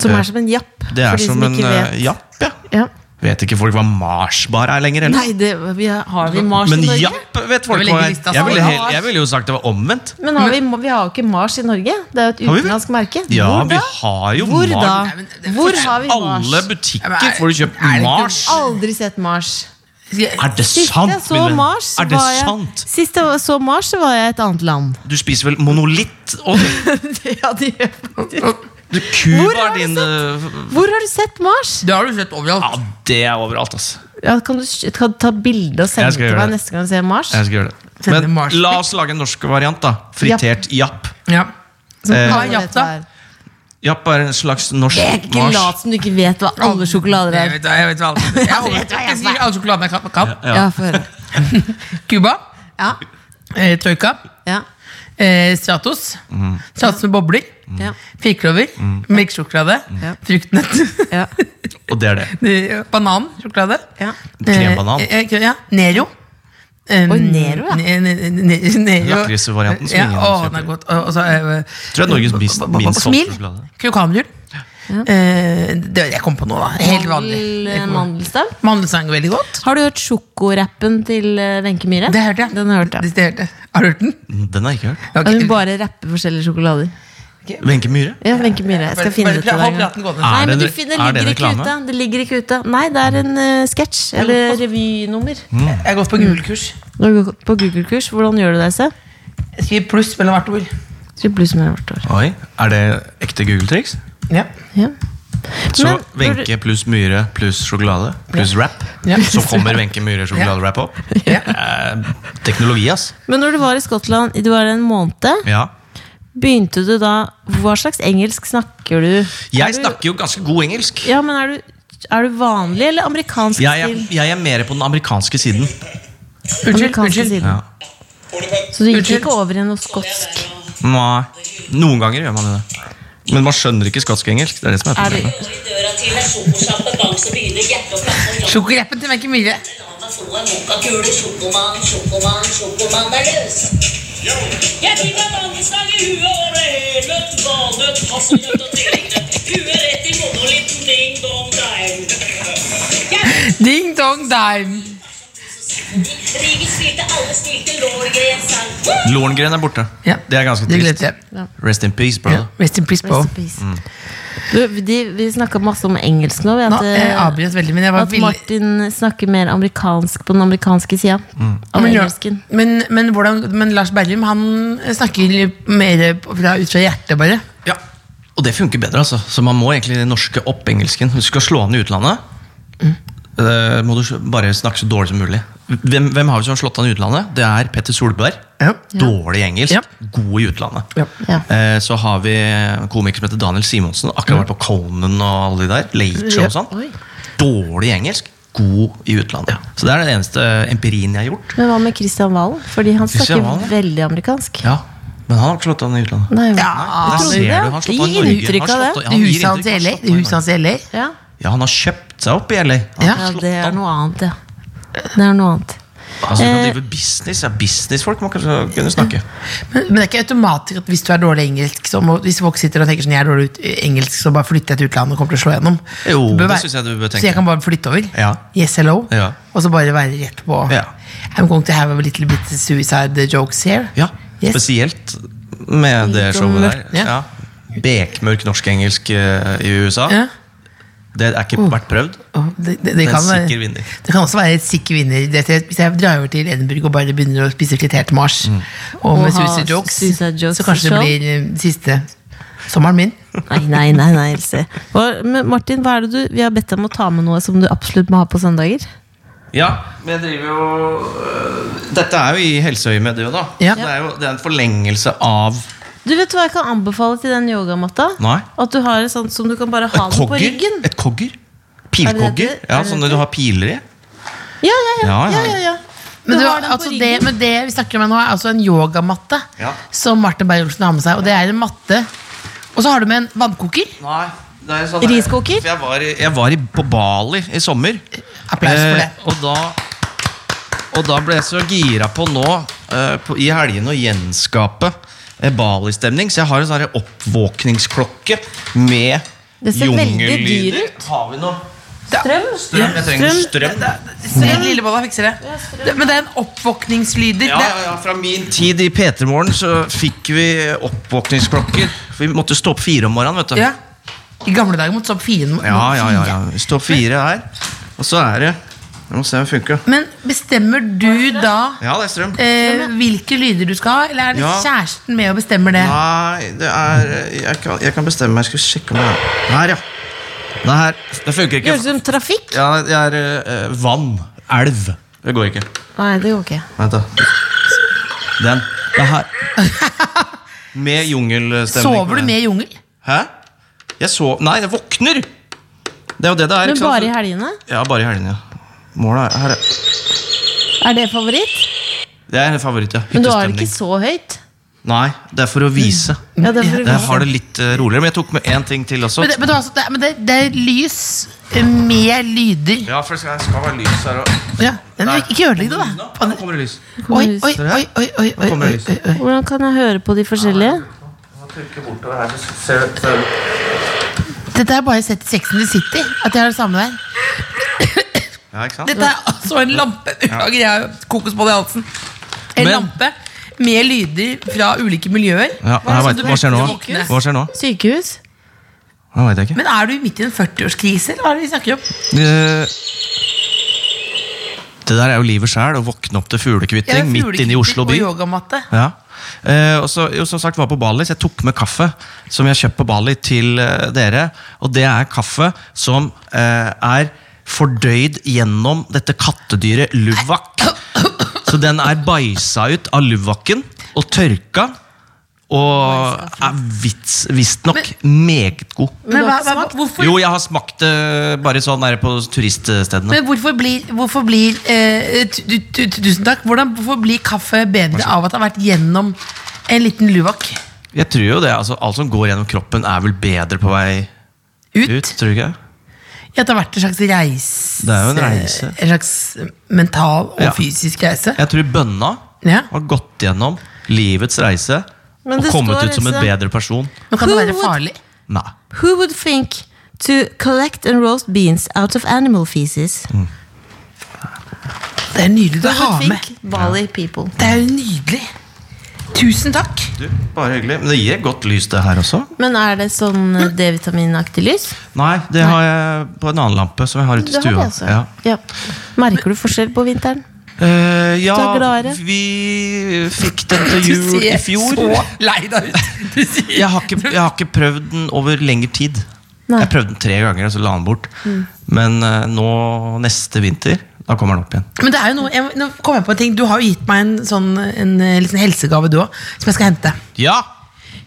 Som Eh, er som en japp. Det for er de som en ikke eh, vet. japp, ja. Ja. Vet ikke folk hva marsbar er lenger? Eller? Nei, det, vi har, har vi Mars Men i Norge? japp vet folk Det er vel hva ikke er. lista, Jeg ville, altså. hel- jeg ville jo sagt det var omvendt. Men har vi, vi har jo ikke Mars i Norge. Det er jo et Har vi vel? utenlandsk merke. Ja, Hvor vi da? har jo Hvor Mars. da? Nei, men det er Hvor forskjell. har vi Mars? Alle Ja, men butikker er- får du kjøpt er det ikke- Mars. Aldri sett Mars. Er det Sist sant? jeg så min venn? Mars, er det var jeg, sant? Sist jeg så Mars, så var jeg i et annet [laughs] land. Du spiser vel monolitt? Og ja, de, du Hvor kuber har du din eh, hvor har du sett Mars? Det har du sett Ja, overalt. det er overalt, ass. Ja, kan du s- kan du ta bilde og sende Jeg skal til gjøre meg det. neste gang du ser Mars? Jeg skal gjøre det. Sende Men Mars. la oss lage en norsk variant, da. Fritert japp. Ja. Eh, Hva Alle er vet japp, da? hva er. Japp er en slags norsk Jeg er ikke Mars. lat som du ikke vet hva alle sjokolader Jeg er. vet, hva- jeg vet hva alle Jeg hva vet jeg Jeg sier alle sjokoladene jeg kan. kan. Ja. Ja, få høre. Cuba, Ja, eh, Troika, ja, eh, Stratos, Mm. Stratos med bobler, ja, firkløver, melkesjokolade, Mm. Ja. fruktnøtt, [laughs] ja, Og det er det. eh, banansjokolade, ja. Krembanan. Eh, eh, ja, Nero. Um, Oi, Nero, ja. ne- ne- ne- Nero. Lakrisvarianten som ja, ingen å, kjøper. den er godt. Og- og så, eh, Tror jeg er Norges minst, minst Smil. solgte sjokolade. Krokanhjul. Eh, det jeg kom på nå, da. Helt vanlig. Mandel- Mandelstang. Mandelstang er veldig godt. Har du hørt sjokorappen til eh, Wenche Myhre? Det hørte jeg. Den har jeg hørt, ja. Det, det hørte jeg. Har du hørt den? Den har jeg ikke hørt. Ok. Hun bare rapper forskjellige sjokolader. Wenche Myhre? Ja, Wenche Myhre. Jeg Bare- skal finne bare det til pra- Hold deg. en gang. praten gående. Nei, Er men du det en- finner, er det det, en ligger ikke reklame? ute. det ligger ikke ute. Nei, det er en uh, sketsj. Eller revynummer. Jeg har gått på gulkurs. Når du går På Google-kurs. Hvordan gjør du det? Se? Jeg skriver pluss mellom hvert ord. Skriv pluss med hvert år. Oi, er det ekte Google-triks? Ja. Ja. Så Men når du- Wenche pluss Myhre pluss sjokolade pluss rap. Ja. Så kommer Wenche Myhre sjokoladerap opp. Ja. Eh, teknologi, ass. Men når du var i Skottland i- du var en måned, Ja. begynte du da Hva slags engelsk snakker du? Er Jeg du- snakker jo ganske god engelsk. Ja, men er du, er du vanlig eller amerikansk Jeg er, stil? jeg er mer på den amerikanske siden. Unnskyld. Amerikansk unnskyld. stil. Ja. Så du gikk Unnskyld. ikke over i noe skotsk? Nei. Noen ganger gjør man jo det. Men man skjønner ikke skotsk-engelsk. Det er det som er Er du, problemet. I døra til er sjokosjappe, bamse begynner hjerte og klappe og jappe. Sjokoreppen til Wenche Myhre. Han får en mokakule, sjokoman, sjokoman, sjokoman er løs. Jeg fikk meg vannstang i huet og ble helnøtt, valnøtt, hasselnøtt og trillingnøtt. Huet rett i monolitten, ding dong dime. Ding dong dime. Rigen spilte, alle spilte, lårgren sang. Woo! Lorngren er borte. Ja. Det er ganske Det glemte trist. jeg. Rest in peace, Ja. brother. Rest in peace, bro. Rest in peace. Mm. Du, de, vi snakka masse om engelsk nå. ved Nå, At, jeg eh, avbrøt veldig, men jeg var at villig Martin snakker mer amerikansk på den amerikanske sida. Mm. Av men, ja, engelsken. men, men, hvordan, men Lars Berrum han snakker litt mer fra, ut fra hjertet, bare. Ja, Mm. og det funker bedre, altså. Så man må egentlig norske opp engelsken. Hvis du skal slå an i utlandet, eh, må du s- bare snakke så dårlig som mulig. Hvem, hvem har vi som har slått an i utlandet? Det er Petter Solberg. Ja. Dårlig i engelsk, Ja. god i utlandet. Ja. Ja. Eh, Så har vi en komiker som heter Daniel Simonsen. Akkurat vært på Conan og alle de der. Late Show og Mm. Ja. sånn. Dårlig i engelsk, god i utlandet. Så det er den eneste empirien jeg har gjort. Men hva med Christian Valen? Fordi han Christian snakker Valen? veldig amerikansk. Ja, Men han har ikke slått an i utlandet. Nei, Der tror ser det. du, han har slått an i Gi Norge. inntrykk Han har av slått det. an- Det ja, han gir huset hans inntrykk, Altså, altså, i han LA. har slått Det an i huset hans i LA. Ja. Norge. Ja, han har kjøpt seg opp i LA. Han har ja, slått det er an. noe annet, ja. Det er noe annet. Altså, du kan Eh. drive business. Ja, businessfolk må kanskje kunne snakke. Men, men det er ikke automatisk at hvis du er dårlig i engelsk så må, Hvis folk sitter og tenker sånn jeg er dårlig ut, i engelsk, så bare flytter jeg til utlandet og kommer til å slå gjennom. Jo, Du bør det være- synes jeg du bør tenke. Så jeg kan bare flytte over? Ja. Yes, hello? Ja. Og så bare være rett på Ja. I'm going to have a little bit of suicide jokes here. Ja, Yes. Spesielt med det showet der. ja. Ja. Bekmørk norsk-engelsk eh, i USA. Ja. Det er Oh. ikke vært prøvd. Åh, Det, det, Det det, er kan en være, sikker vinner. det kan også være et sikker vinner. Det, det- hvis jeg drar over til Edinburgh og bare begynner å spise fritert mars, Mm. og med Og ha suicide jokes, suicide jokes så kanskje det show. blir eh, siste sommeren min. Nei, nei, nei. nei Else. Hva- Men Martin, hva er det du, vi har bedt deg om å ta med noe som du absolutt må ha på søndager? Ja, men jeg driver jo øh, Dette er jo i helseøyemed, det jo, da. Ja. Det er jo det er en forlengelse av Du vet hva jeg kan anbefale til den yogamatta? Nei. At du har et sånt som du kan bare ha et den på kogger. ryggen. Et Er kogger. det det Pilkogger. heter? Ja, Er det sånn det at du har piler i. Ja, ja, ja. Ja, ja. ja, ja, ja. Men, Du du, har den på altså det, ryggen. men det vi snakker om nå, er altså en yogamatte Ja. som Martin Beyer-Olsen har med seg. Og det er en matte. Og så har du med en vannkoker. Nei, det er sånn Riskoker? For Jeg var, i- jeg var i, på Bali i sommer. Eh, Applaus for det. og da Og da ble jeg så gira på nå eh, på, i helgene å gjenskape eh, Bali-stemning, så jeg har en sånn her oppvåkningsklokke med Det ser veldig dyr jungellyder. ut. Har vi noe Strøm? strøm? Jeg trenger strøm. Se, Lillebolla fikser det. det. Men det er en oppvåkningslyder. Ja, Det ja, er- ja, Fra min tid i P3-morgen så fikk vi oppvåkningsklokker. For Vi måtte stå opp fire om morgenen. vet du Ja. I gamle dager måtte du stå opp fire. ja, ja, ja, ja. Vi står fire her, og så er det Jeg må se om det funker. Men bestemmer du da Ja, det er strøm. eh, hvilke lyder du skal ha, eller er det Ja. kjæresten med og bestemmer det? Nei, det er Jeg kan, jeg kan bestemme meg. Jeg skulle sjekke om det er Her, ja. Det her Det funker Høres ut som ikke. trafikk. Ja, det er eh, vann. Elv. Det går ikke. Nei, det går ikke. Vent, da. Den. Det [laughs] her. Med jungelstemning. Sover du med i jungel? Hæ? Jeg sov Nei, jeg våkner! Det er jo det det sånn er. Men bare i helgene? Ja, bare i helgene. ja. Målet er her. er- Er det favoritt? Det er en favoritt, ja. Men du har det Hyttestemning. ikke så høyt. Nei, det er for å vise. Ja, det er for å Jeg vise. har det litt eh, roligere, men jeg tok med én ting til også. Men, det, men, det, er altså, det, er- men det, det er lys eh, med lyder. Ja, for det skal, skal være lys her òg. Ja. Men Ikke ødelegg det, da. Nå nå kommer det lys. Oi, oi, oi, oi, oi, oi, Kommer oi, lyset. oi, oi. Hvordan kan jeg høre på de forskjellige? Nå trykker jeg bortover her, så ser du- ser du- Dette har jeg bare sett i Sex and the City. At jeg har det samme der. Ja, ikke sant? Dette er altså en lampe. Beklager, jeg har kokosbolle i halsen. En Men- lampe med lyder fra ulike miljøer. Ja, Hva er det jeg som vet, du hva skjer nå? våkner? Hva skjer nå? Sykehus? Nå vet jeg ikke. Men er du midt i en 40-årskrise, eller hva er det vi snakker om? Eh, Det der er jo livet sjæl, å våkne opp til Jeg fuglekvitting har midt inne i Oslo by. fuglekvitter Og yogamatte. Ja. Eh, og så, jo, som sagt, var på Bali, så jeg tok med kaffe som jeg har kjøpt på Bali til eh, dere. Og det er kaffe som eh, er fordøyd gjennom dette kattedyret luvak. Så den er bæsja ut av luvakken og tørka. Og er vits- visstnok meget god. Men, du hva, har ikke hva, hvorfor, Jo, jeg har smakt det bare sånn der på turiststedene. men hvorfor blir, hvorfor blir eh, tu- tu- tu- Tusen takk. Hvordan, hvorfor blir kaffe bedre av at det har vært gjennom en liten luwak? Jeg tror jo det, altså Alt som går gjennom kroppen, er vel bedre på vei Ut? ut? tror du ikke? det? Ja, det har vært en slags reise Det er jo en reise. En slags mental og Ja. fysisk reise. Jeg tror bønna Ja. har gått gjennom livets reise Men og det kommet står ut som en altså- bedre person. Men kan det Who være would- farlig? Nei. Who would think to collect and roast beans out of animal feces? Mm. Det er nydelig Who å ha Ah, would med. think Bali people? Det er jo nydelig. Tusen takk. Du, bare hyggelig. Men det gir et godt lys, det her også. Men er det sånn eh, D-vitaminaktig lys? Nei, det har jeg på en annen lampe som jeg har ute i Det har de stua. altså. Ja. Ja. Merker du forskjell på vinteren? Eh, Du er ja, gladere. vi fikk den Du [laughs] til jul i ser fjor. så lei deg ut. Du sier- Jeg har, ikke, jeg har ikke prøvd den over lengre tid. Nei. Jeg prøvde den tre ganger, og så la den bort. Mm. Men eh, nå, neste vinter, da kommer den opp igjen. Men det er jo noe, jeg, nå kom jeg på en ting. Du har jo gitt meg en sånn en, eh, liten helsegave, du òg, som jeg skal hente. Ja!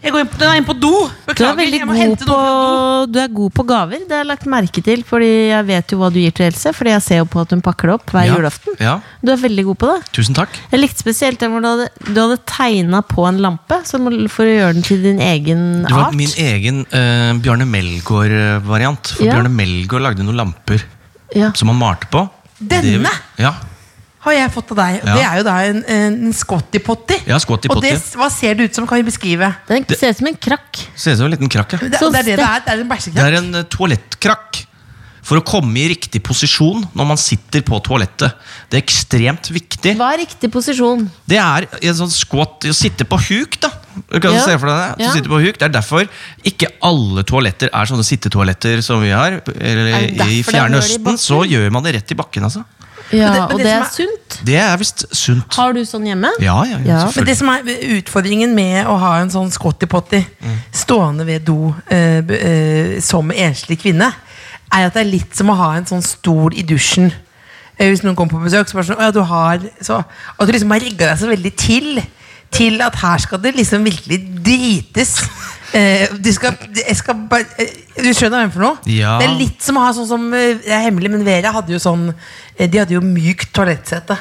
Jeg går inn, den er inn på do. Du er Beklager. veldig Jeg må god hente på, noe fra do. du er god på gaver. Det har jeg lagt merke til, Fordi jeg vet jo hva du gir til Else. Fordi jeg ser jo på at hun pakker det opp hver Ja. julaften. Ja. Du er veldig god på det. Tusen takk. Jeg likte spesielt den hvor du hadde, du hadde tegna på en lampe som, for å gjøre den til din egen Det var art. min egen eh, Bjarne Melgaard-variant. For Ja. Bjarne Melgaard lagde noen lamper Ja. som han malte på. Denne? Det, ja. Har jeg fått av deg. Ja. Det er jo da en, en scotty potty. Ja, Scotty Og det, Potty. hva ser det ut som? Kan vi beskrive? Den ser ut som en krakk. Ser ut som en liten krakk. Ja. Det, Så det er det det er. Det er en Det bæsjeknapp. er en eh, toalettkrakk. For å komme i riktig posisjon når man sitter på toalettet. Det er ekstremt viktig. Hva er riktig posisjon? Det er en sånn squat Å sitte på huk, da. Du kan Ja. se for deg det. Du Ja. sitter på huk. Det er derfor ikke alle toaletter er sånne sittetoaletter som vi har. Er Eller, det derfor I det er hull i Fjerne Østen så bakken? gjør man det rett i bakken. altså Ja, det- men Og det det er som er- sunt. Det er visst sunt. Har du sånn hjemme? Ja, ja, ja, Ja. Men selvfølgelig. Mm. det som er utfordringen med å ha en sånn scotty potty stående ved do eh, b- eh, som enslig kvinne, er at det er litt som å ha en sånn stol i dusjen. Eh, hvis noen kommer på besøk, så bare sånn, «Å ja, du har så, At du liksom har rigga deg så veldig til til at her skal det liksom virkelig drites. Eh, du, skal, jeg skal bare, eh, du skjønner hvem for noe? Ja. Det er litt som å ha sånn som eh, Det er hemmelig, men Vera hadde jo sånn eh, De hadde jo mykt toalettsete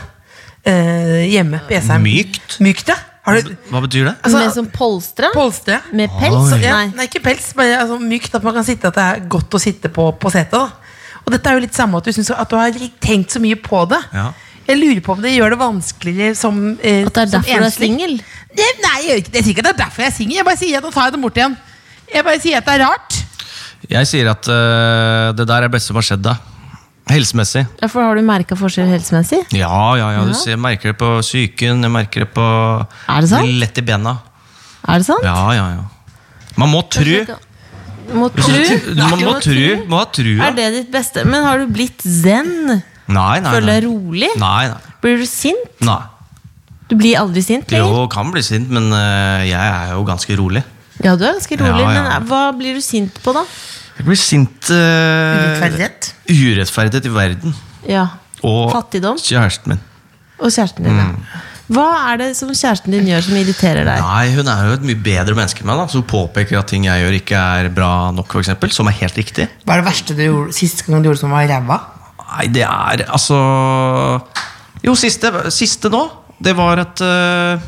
eh, hjemme på Jessheim. Mykt? Mykt, ja. Har du Hva betyr det? altså, Med sånn polstra? polstre? Med pels? Oi. Ja, Nei. nei, ikke pels, bare altså, mykt. At man kan sitte, at det er godt å sitte på, på setet. Da. Og dette er jo litt samme at du, synes, at du har tenkt så mye på det. Ja. Jeg lurer på om det gjør det vanskeligere som eh, At det er som derfor du er enslig. singel? Det, nei, jeg gjør ikke det. Det er sikkert det er derfor jeg er singel. Jeg bare sier at nå tar jeg det bort igjen. Jeg bare sier at det er rart. Jeg sier at eh, det der er det beste som har skjedd deg. Helsemessig. Ja, for har du merka forskjell helsemessig? Ja, ja, ja. Du Ja. ser, jeg merker det på psyken, jeg merker det på Er det sant? blir Lett i bena. Er det sant? Ja, ja, ja. Man må tru. Du må tru. Man må tru. Må ha trua. Er det ditt beste? Men har du blitt zen? Nei, nei, Føler nei. deg rolig? Nei, nei. Blir du sint? nei. Du blir aldri sint lenger? Jo, kan bli sint, men eh, jeg er jo ganske rolig. Ja, du er ganske rolig, Ja, ja. men eh, hva blir du sint på, da? Jeg blir sint uh, Urettferdighet i verden. Ja. Og Fattigdom? kjæresten min. Og kjæresten din. Mm. ja. Hva er det som kjæresten din gjør som irriterer deg? Nei, hun er jo et mye bedre menneske enn meg, da. Så hun påpeker at ting jeg gjør, ikke er bra nok, for eksempel, Som er helt riktig. Hva er det verste du gjorde siste gang du gjorde som var ræva? Nei, det er altså Jo, siste, siste nå, det var at eh,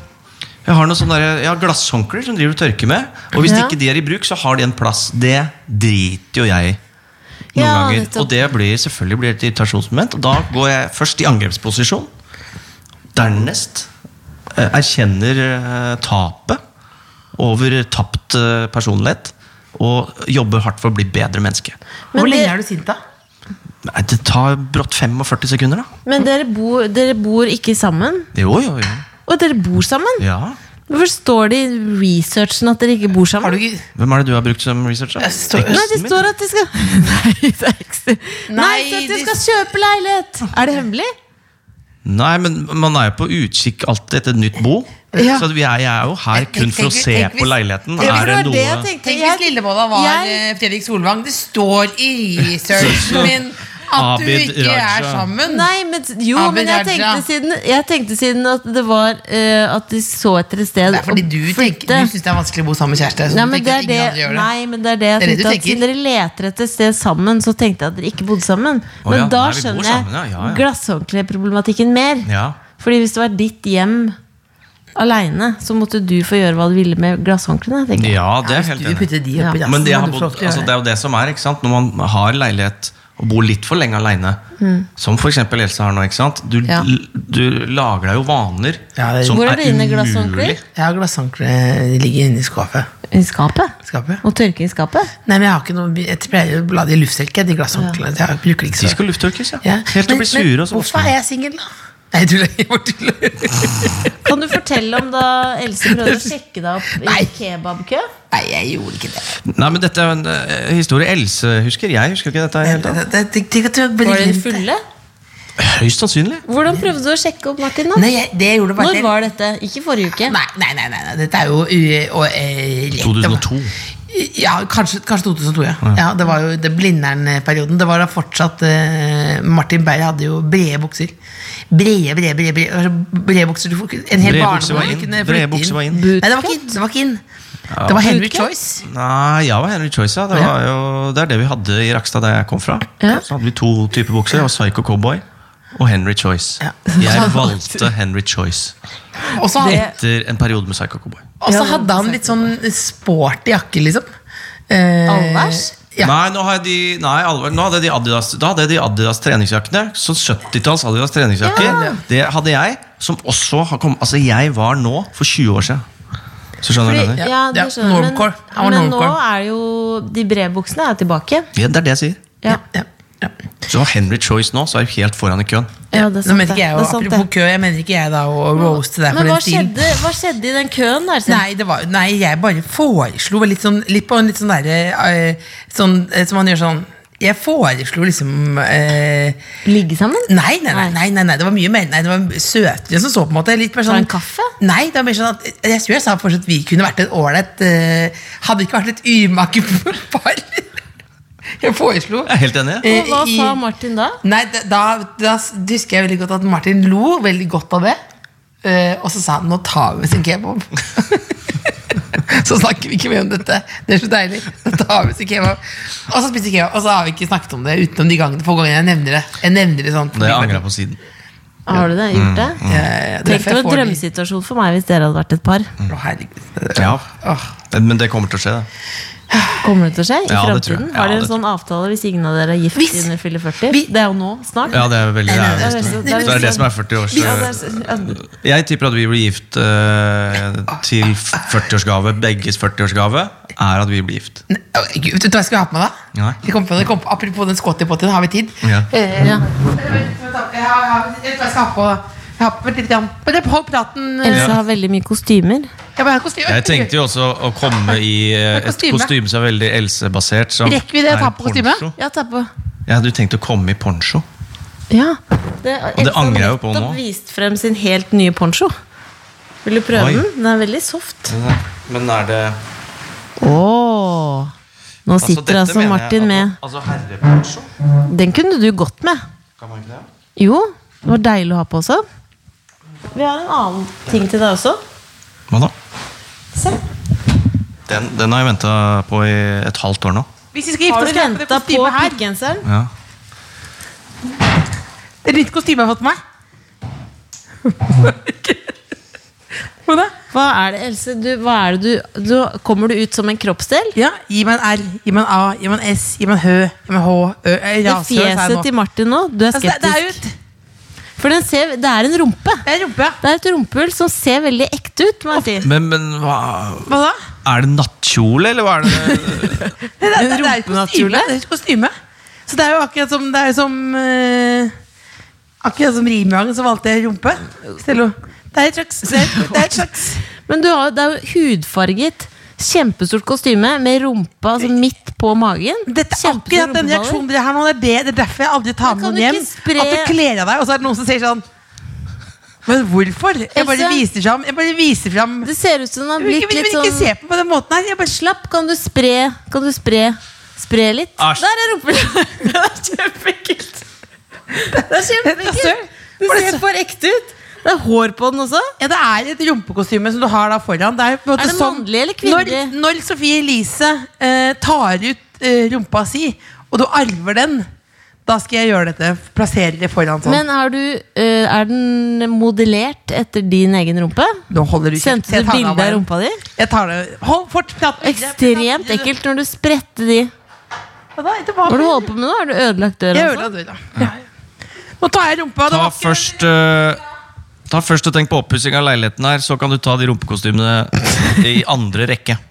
jeg har noen sånne der, jeg har glasshåndklær som driver og tørker med. Og hvis Ja. ikke de er i bruk, så har de en plass. Det driter jo jeg i. Noen Ja, ganger. nettopp. Og det blir selvfølgelig blir et irritasjonsmoment. Og da går jeg først i angrepsposisjon. Dernest eh, erkjenner eh, tapet over tapt eh, personlighet. Og jobber hardt for å bli bedre menneske. Men Hvor det- lenge er du sint, da? Nei, Det tar brått 45 sekunder, da. Men dere bor, dere bor ikke sammen? Jo, jo, jo. Og dere bor sammen? Ja. Hvorfor står det i researchen at dere ikke bor sammen? Har du ikke Hvem er det du har brukt som researcher? Jeg står- Nei, det står at de skal [laughs] Nei, det er ikke Nei, Nei, så at de de- skal kjøpe leilighet! Er det hemmelig? Nei, men man er jo på utkikk alltid etter et nytt bo. Ja. Så vi er, jeg er jo her Tenk- kun for å tenk- se tenk hvis- på leiligheten. tenk hvis Er det det var det jeg noe tenkte. Tenk hvis Jeg- Lillevolla var jeg- eh, Fredrik Solvang. Det står i researchen min at du Abid ikke er Raja. sammen. Nei, men jo, Abid men jeg Raja. tenkte, siden, jeg tenkte siden at det var eh, At de så etter et sted Det er fordi å du, tenker, flytte. du syns det er vanskelig å bo sammen med kjæreste. Så Nei, du men det tenker er at det, ingen andre gjør det. nei, men det er det jeg Det er det du tenkte at Siden tenker. dere leter etter et sted sammen, så tenkte jeg at dere ikke bodde sammen. Å Men da ja, nei, vi bor skjønner sammen, ja, jeg ja, ja. glasshåndkleproblematikken mer. Ja. Fordi hvis det var ditt hjem aleine, så måtte du få gjøre hva du ville med glasshåndklærne. tenker jeg. ja, det er jeg helt Du enig. i. putter de opp i Ja. dassen, Men det, jeg og har du bodd, får lov til å altså, gjøre det er jo det som er, ikke sant? når man har leilighet og bor litt for lenge aleine, som f.eks. Else har nå, ikke sant? Du, Ja. du lager deg jo vaner Ja, det- som Hvor er er dine umulig. glasshåndklær? Jeg har glasshåndkle ligger inne i skapet. I skapet? skapet. Og tørke i skapet? Nei, men jeg har ikke noe Jeg pleier å la de i luftselke, de glasshåndklærne. Jeg bruker de ikke De så skal lufttørkes, ja. Ja. Helt til Men- å bli sure. Og Men så hvorfor våkner er man. jeg singel, da? Nei, jeg tuller. [laughs] Jeg bare tuller. Kan du fortelle om da Else prøvde å [laughs] sjekke deg opp Nei. i kebabkø? Nei, jeg gjorde ikke det. Nei, men Dette er jo en eh, historie Else husker. Jeg husker ikke dette. det, Helt, det, det, det, det, det Var dere fulle? høyst sannsynlig. Hvordan prøvde du å sjekke opp Martin? da? Nei, jeg, det gjorde bare Når var dette? Ikke forrige uke? Nei, nei, nei, nei, nei, dette er jo u- og, eh, rett om- 2002. Ja, kanskje, kanskje 2002, ja. ja. Det var jo det Blindern-perioden. Det var da fortsatt eh, Martin Berg hadde jo brede bukser. Brede, brede, brede, brede, brede bukser. Du får ikke- En hel Brede bukser var barnegård inn. kunne Brede flytte bukser var inn. Nei, det var ikke inn. Det var, ikke inn. Det var Henry Bootcut? Choice. Nei, jeg var Henry Choice. Ja. Det, var jo, det er det vi hadde i Rakstad, der jeg kom fra. Ja. Så hadde vi to typer bukser. Det var Psycho Cowboy og Henry Choice. Ja. Jeg [laughs] valgte Henry Choice Og så hadde, Det- etter en periode med Psycho Cowboy. og så hadde han litt sånn sporty jakke, liksom. Eh, Allværs? Ja. Nei, nå, har jeg de, nei alvor, nå hadde de Adidas Da hadde de Adidas treningsjakkene. Så 70-talls Adidas treningsjakker. Det hadde jeg. Som også har kommet Altså, jeg var nå for 20 år siden. Så skjønner du hva jeg mener? Fordi- ja, Ja, det skjønner jeg. normcore. Han var Men, men nå normcore. er jo de bredbuksene er tilbake. Ja, det er det jeg sier. Ja, ja, ja. Så Henry Choice nå, så er du helt foran i køen. ja det er Nå sant, mener ikke jeg, det å- er sant, apropos kø, jeg mener ikke jeg da å roaste deg for Men hva den stilen. skjedde, hva skjedde i den køen sånn- der? Sten? Nei, det var, nei, jeg bare foreslo vel litt sånn Litt på en litt sånn derre eh, Sånn eh, som man gjør sånn Jeg foreslo liksom eh, Ligge sammen? Nei, nei, nei, nei, nei, nei, det var mye mer Nei, det var søtere som så på en måte Litt mer Var sånn det en kaffe? Nei, det var mer sånn at Jeg tror jeg sa fortsatt at vi kunne vært et ålreit eh, Hadde ikke vært et ymake [laughs] par Jeg foreslo eh, Jeg er helt enig. Og hva i- sa Martin da? Nei, da, da, da husker jeg veldig godt at Martin lo veldig godt av det. Eh, og så sa han 'nå tar vi oss en kebab'. [laughs] så snakker vi ikke mer om dette. Det er så deilig. Nå tar vi oss en kebab. Og så spiser vi kebab, og så har vi ikke snakket om det utenom de gangene få gangene jeg nevner det. Jeg nevner det sånn Det angrer jeg på siden. Har du det? Gjort det? Eh, Tenk derfor deg en jeg får de- Mm. drømmesituasjon for meg hvis dere hadde vært et par. Å, herregud. Ja. Åh. Men det kommer til å skje, det. Kommer det til å skje i Ja, det tror fremtiden? jeg. Ja, Har dere det en sånn avtale hvis ingen av dere er gift Hvis- innen fyller 40? Vi- Det er jo nå, snart. Ja, det er veldig det er, det er- det det, er- er, det, er det som er 40 års Ja, det er, ja, Jeg tipper at vi blir gift eh, til 40-årsgave. Begges 40-årsgave er at vi blir gift. Nei, å, Gud, vet du hva jeg skulle ha på meg, da? Nei. Jeg kom på, det- kom, apropos den skottipotten, har vi tid? Ja. Eh, Ja. Jeg har- jeg har- vet du hva jeg skal ha på? Jeg har på litt grann Men Hold praten. eh, Else har veldig mye kostymer. Jeg bare har kostyme. Jeg tenkte jo også å komme i eh, et Kostyme. kostyme som er veldig Else-basert. som Rekker vi det å er ta en på kostyme? poncho. Ja, ta på. Jeg hadde jo tenkt å komme i poncho. Ja. Det, Og det angrer jeg jo på Else har nå. nettopp vist frem sin helt nye poncho. Vil du prøve Oi. den? Den er veldig soft. Men er det Åh. Nå sitter altså, Martin med. Altså herreponcho? Den kunne du gått med. Kan man ikke det? Jo, det var deilig å ha på også. Vi har en annen ting til deg også. Hva da? Se. Den, den har jeg venta på i et halvt år nå. Hvis vi skal Har gifte du oss, kjøper vi venta på kostyme her. pikkgenseren? Ja. Det er ditt kostyme jeg har fått på meg. Hva da? Hva er det, Else? Du, hva er det du, du Kommer du ut som en kroppsdel? Ja, gi meg en R, gi meg en A, gi meg en S, gi meg en Hø, gi meg en H, Ø, Ø, Det rashø, sa jeg fjeset nå. til Martin nå, du er Altså, det, det er jo skeptisk. et For den ser, det er en rumpe. det er en rumpe, ja. Det er et rumpehull som ser veldig ekte ut. må jeg si. Men, men hva Hva da? Er det nattkjole, eller hva [laughs] er det? Det, det, det, det er et Rumpenattkjole? kostyme. Det er et kostyme. Så det er jo akkurat som, det er jo som eh, Akkurat som Rimjangen, så valgte jeg rumpe. Stello. Det er et slags, det er, det er et slags Men du har, det er jo hudfarget, kjempestort kostyme med rumpa altså midt på magen. Dette er Kjempestore akkurat den rumpeballer. reaksjonen dere har nå. Det er, det, det er derfor jeg aldri tar Men med kan noen du hjem. ikke spre- At du kler av deg, og så er det noen som sier sånn Men hvorfor? Jeg bare Else? viser fram. Jeg bare viser fram. Det ser ut som den har Jeg vil ikke, blitt jeg litt vil ikke se sånn på på den måten her. Jeg bare Slapp, kan du spre? Kan du spre? Spre litt? Æsj. Der er [laughs] rumpehullet! Det er kjempeekkelt. Det er kjempeekkelt. Det Var det ser så- for ekte ut. Det er hår på den også. ja, det er et rumpekostyme som du har da foran. Det er, på en måte Er det som- mannlig eller kvinnelig? Når, når Sofie Elise eh, tar ut eh, rumpa si, og du arver den, da skal jeg gjøre dette. Plassere det foran sånn. Men har du, eh, er den modellert etter din egen rumpe? Nå holder du kjeft. Sendte Jeg du tar den bilde av av meg. rumpa di? Jeg tar det. Hold fort praten. Ekstremt ekkelt når du spredte de. Hva da? Etterpå. Hva har du holdt på med nå? Har du ødelagt døra? Jeg og ødela døra. Ja. Nå tar jeg rumpa. det Ta var ikke- først eh, Ta først og tenk på oppussing av leiligheten her, så kan du ta de rumpekostymene i andre rekke. sånn?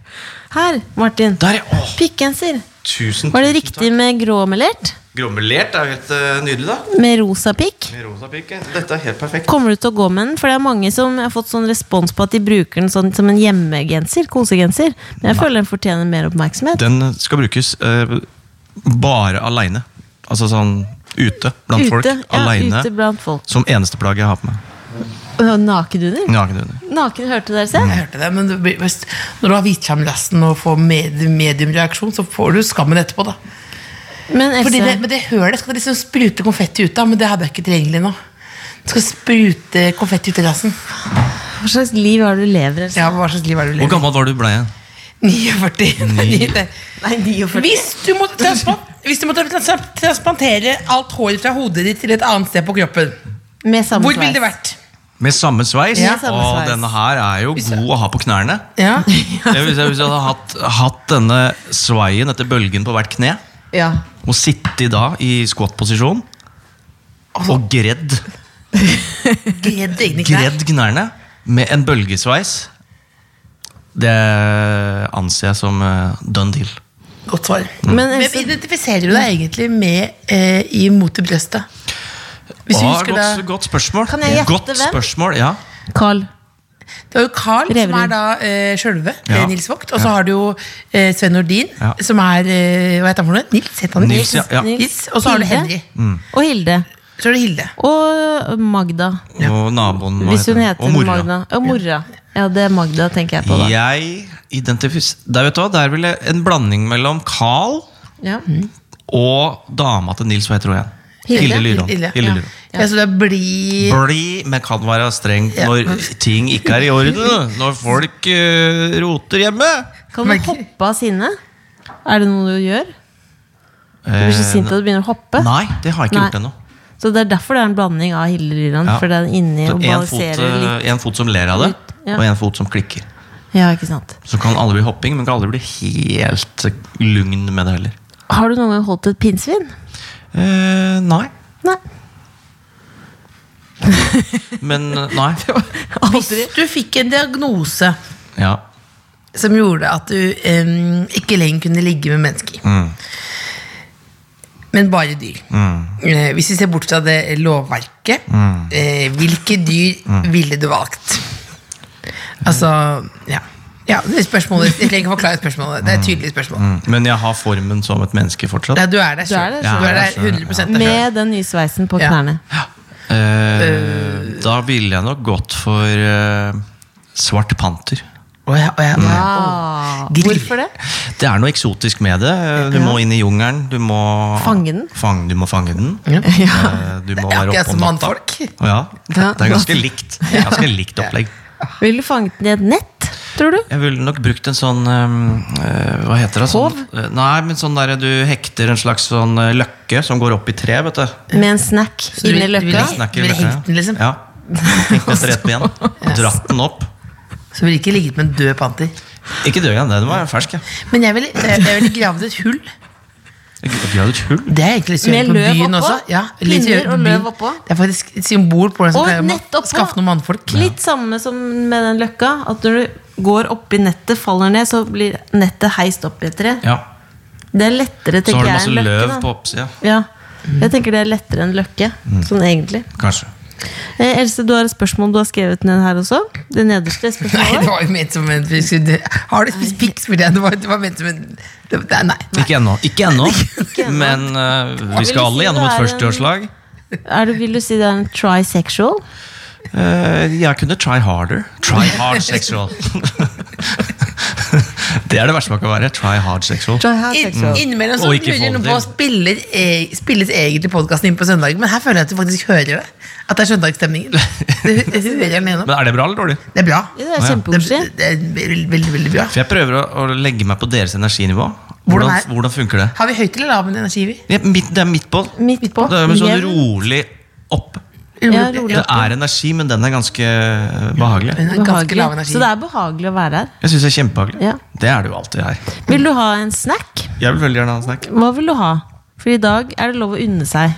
Her, Martin. Der, ja. Åh, Pikkgenser. tusen, Var det tusen riktig med gråmelert? takk. Grommelert er jo helt eh, nydelig, da. Med rosa pikk? Med rosa pikk. ja. Dette er helt perfekt. Kommer du til å gå med den? For det er mange som har fått sånn respons på at de bruker den sånn, som en hjemmegenser. Kosegenser. Men jeg føler den fortjener mer oppmerksomhet. Den skal brukes eh, bare aleine. Altså sånn ute blant folk. Ute, ja, aleine. ute blant folk. Som eneste plagg jeg har på meg. Naken under? Naken under. Naken hørte dere se? Jeg hørte det, men du, blir- hvis, når du har hvitskamlasten og får med, mediumreaksjon, så får du skammen etterpå, da. Men Else, Fordi det, men det hølet skal det liksom sprute konfetti ut av, men det er ikke tilgjengelig nå. Det skal sprute konfetti ut av glassen. hva slags liv har du lever? Else? Ja, hva slags liv er det du Hvor lever? gammel var du ble igjen? [laughs] 49. Nei, 49. Hvis du måtte, transpa- hvis du måtte trans- transplantere alt håret fra hodet ditt til et annet sted på kroppen, Med samme hvor ville det sveis. vært? Med samme sveis? Ja, samme og sveis. denne her er jo god å ha på knærne. Ja. Jeg, hvis, jeg, hvis jeg hadde hatt, hatt denne sveien etter bølgen på hvert kne, Ja. og sittet da i squat-posisjon og gredd, Gredd egne knær. gredd knærne med en bølgesveis, det anser jeg som eh, done deal. [laughs] Godt svar. Men Hvem Else, identifiserer du deg egentlig med eh, i Mot i brøstet? Hvis du Å, husker godt, det, godt spørsmål. Kan jeg gjette godt hvem? spørsmål, ja. Carl. det var jo Carl, som Reverud. er da eh, sjølve Ja. eh, Nils Vogt. Og så har du jo eh, Sven Nordin, Ja. som er eh, Hva heter han for noe? Nils? Heter han det? Nils, ja, ja. Nils. Og så har du Hilde. Henry. Og Hilde. Så er det Hilde. Og Magda. Og naboen hva Hvis hun den? heter Og mora. Magda. Og mora. Ja, det er Magda, tenker jeg på. da Jeg identifis... Der, vet du hva, der ville en blanding mellom Carl ja. Mm. og dama til Nils, hva heter hun igjen? Hilde? Hilde Lyron. Hilde, Hilde ja. Lyron. Ja, så det er blid Bli, men kan være streng Ja. når ting ikke er i orden. Når folk eh, roter hjemme. Kan du Merker. hoppe av sinne? Er det noe du gjør? Du blir så sint at du begynner å hoppe? Eh, Nei, det har jeg ikke Nei. gjort ennå. Så det er derfor det er en blanding av Hilde Lyland. Ja. For den er inni Så og En fot, balanserer eh, litt. en fot som ler av det, Litt, ja. og en fot som klikker. Ja, ikke sant Så kan alle bli hopping, men kan aldri bli helt eh, lugn med det heller. Har du noen gang holdt et pinnsvin? Eh, nei. Nei. Men eh, [laughs] Nei. Hvis du fikk en diagnose Ja. som gjorde at du em, ikke lenger kunne ligge med mennesker, mm, men bare dyr Eh, Hvis vi ser bort fra det lovverket, Mm. eh, hvilke dyr ville du valgt? Altså Ja. ja det er spørsmålet. Jeg trenger ikke forklare spørsmålet. Mm. Det er et tydelig spørsmål. Men jeg har formen som et menneske fortsatt. Ja, du er der sjøl. der selv. Du er Ja, der jeg er der selv, 100 der selv. Med den nye sveisen på Ja. knærne. Eh, Øh. da ville jeg nok gått for eh, svart panter. Å ja, å ja, å ja. Ah, Grill. hvorfor det? [laughs] Det er noe eksotisk med det. Du må inn i jungelen. Du må Fange den. Fang, du må fange den. Eh, Du må Det er akkurat være oppe som om natta. mannfolk. Ja, det Ja. er ganske [laughs] likt. Ganske likt opplegg. Vil du fange den i et nett, tror du? Jeg ville nok brukt en sånn eh, eh, Hva heter det? Sånn, eh, nei, men sånn der du hekter en slags sånn eh, løkke som går opp i tre, vet du. Med en snack du inni vil- du vil løkka? ikke- Snakker ville løkke. hengt den, liksom? Ja. Hengt etter ett [laughs] ben. og Dratt den opp. [laughs] Så ville ikke ligget med en død panter. Ikke dø igjen, det. Den var fersk, ja. Men jeg ville, jeg ville gravd et hull. Jeg har et hull. Det er egentlig litt Med gjøre på løv byen oppå? også. Ja, litt Pinner gjøre på og løv byen. oppå? Det er faktisk et symbol på Og hvordan som pleier et nett å oppå. skaffe noen mannfolk. Litt samme som med den løkka. At når du går oppi nettet, faller ned, så blir nettet heist opp i et tre. Ja. Det er lettere, Så har tenker du jeg, masse enn løkke. løv da. på Mm. oppsida. Ja. Jeg tenker det er lettere enn løkke. Sånn egentlig. Kanskje. Eh, Else, du har et spørsmål du har skrevet ned her også. Det nederste Nei, det spørsmålet. var jo ment som en vi skulle- det- Har du spist pikk, spurte jeg. Det var, det var ment som en det, det, Nei. nei. Ikke ennå. Ikke ennå. [laughs] ennå. Men eh, Vil vi skal du alle si gjennom det et er eh, en- førsteårslag. Er du, vil du si det er en trisexual? Eh, jeg kunne try harder. Try hard sexual. [laughs] det er det verste man kan være. Try hard sexual. In, Trisexual. innimellom så Og ikke lurer noen voldelig. på å spiller, eh, spilles egentlig podkasten inn på søndag, men her føler jeg at du faktisk hører det. At det er søndagsstemningen. Det, det hører jeg den [laughs] gjennom. Men Er det bra eller dårlig? Det er bra. Ja, det Å, er ja. Det, kjempekoselig. det er veldig, veldig, veldig bra. For Jeg prøver å, å legge meg på deres energinivå. Hvordan Hvordan, er- hvordan funker det? Har vi høyt eller lav energi? vi? Ja, midt, det er midt på. Midt på. Det er med sånn Jevn. rolig opp. Ja, Urolig. rolig. Det er energi, men den er ganske behagelig. Men Ganske lav Behagelig. energi. Så det er behagelig å være her. Jeg syns det er kjempehagelig. Ja. Det er det jo alltid her. Vil du ha en snack? Jeg vil veldig gjerne ha en snack. Hva vil du ha? For i dag er det lov å unne seg.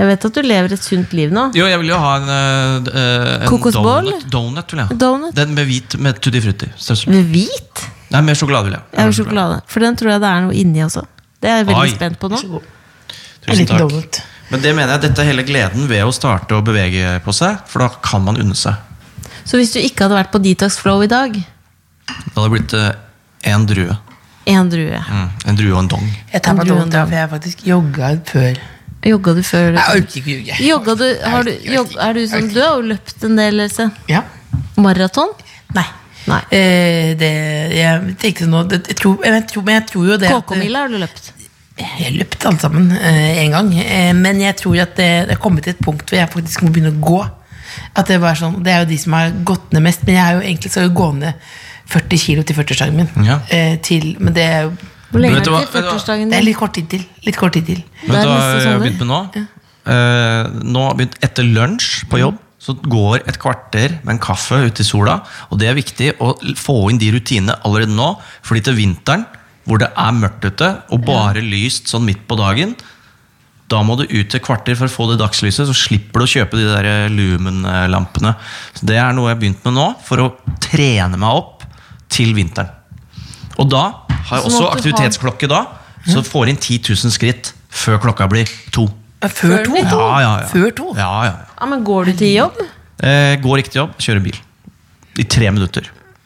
Jeg vet at du lever et sunt liv nå. Jo, jeg vil jo ha en, eh, eh, en Kokosboll? donut. donut, vil jeg. ha. Donut? Den med hvit med tutti frutti. Størst- Med hvit? Nei, med sjokolade vil jeg. Ja, med sjokolade. For den tror jeg det er noe inni også. Det er jeg veldig Oi. spent på nå. En Tusen liten takk. donut. Men det mener jeg, dette er hele gleden ved å starte å bevege på seg, for da kan man unne seg. Så hvis du ikke hadde vært på Detox Flow i dag, Det hadde blitt én drue. én drue. Mm, en drue og en dong. Jeg tar meg Andrew donut, ja, for jeg har faktisk jogga før. Jogga du før? Jeg orker ikke ljuge. Jogga du, har du, Jeg orker jog, ikke. er du Jeg sånn, orker du har jo løpt en del, Else. Ja. Maraton? Nei. Nei. Eh, det, jeg tenkte nå det, jeg tror, jeg tror, Men jeg tror jo det at- KK-mila har du løpt. Jeg løpte alle sammen eh, en gang. Eh, men jeg tror at det, det er kommet til et punkt hvor jeg faktisk må begynne å gå. At Det er bare sånn, det er jo de som har gått ned mest, men jeg er jo egentlig skal jo gå ned 40 kilo til 40-årsdagen min. Ja. Eh, til, men det er jo Hvor lenge Vet er du det hva- vet til du hva? 40-årsdagen det er din? litt kort tid til. Litt kort tid til. Det Vet er sånn du hva neste jeg har sommer. begynt med nå? Eh, nå har jeg begynt Etter lunsj på Mm. jobb så går et kvarter med en kaffe ut i sola. Og det er viktig å l- få inn de rutinene allerede nå. Fordi til vinteren, hvor det er mørkt ute og bare lyst sånn midt på dagen, da må du ut et kvarter for å få det dagslyset, så slipper du å kjøpe de der eh, Lumen-lampene. Så Det er noe jeg har begynt med nå, for å trene meg opp til vinteren. Og da har Sånn jeg også at du har- aktivitetsklokke da, så får inn 10 000 skritt før klokka blir to. Eh, Før to! blir Ja, ja, ja. Før to? Ja, ja, ja. Ja, men går du til jobb? Eh, går ikke til jobb, kjører bil. I tre minutter.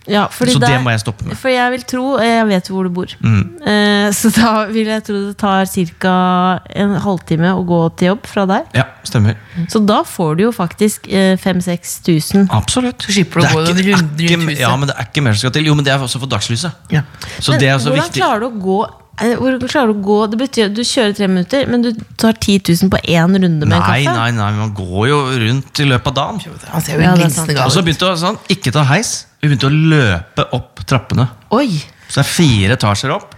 Ja, fordi Så det der- må jeg stoppe med. For jeg vil tro, eh, jeg vet hvor du bor Mm. Eh, Så da vil jeg tro det tar cirka en halvtime å gå til jobb fra der Ja, stemmer. Så da får du jo faktisk eh, 5-6 tusen Absolutt. Så slipper du å Det er gå ikke- den runden er ikke- rundt huset. Ja, men det er ikke mer som skal til. Jo, men det er også for dagslyset. Ja. Så det er også hvordan viktig. Klarer du å gå, eh, hvordan klarer du å gå Det betyr at du kjører 3 minutter Men du tar 10 000 på en runde med en Nei, kaffe nei, nei, man går jo rundt i løpet av dagen. Han ser jo Ja, det er sant. glinsende Og så gal ut. begynte jeg sånn, ikke ta heis. Vi begynte å løpe opp trappene. Oi, Så det er fire etasjer opp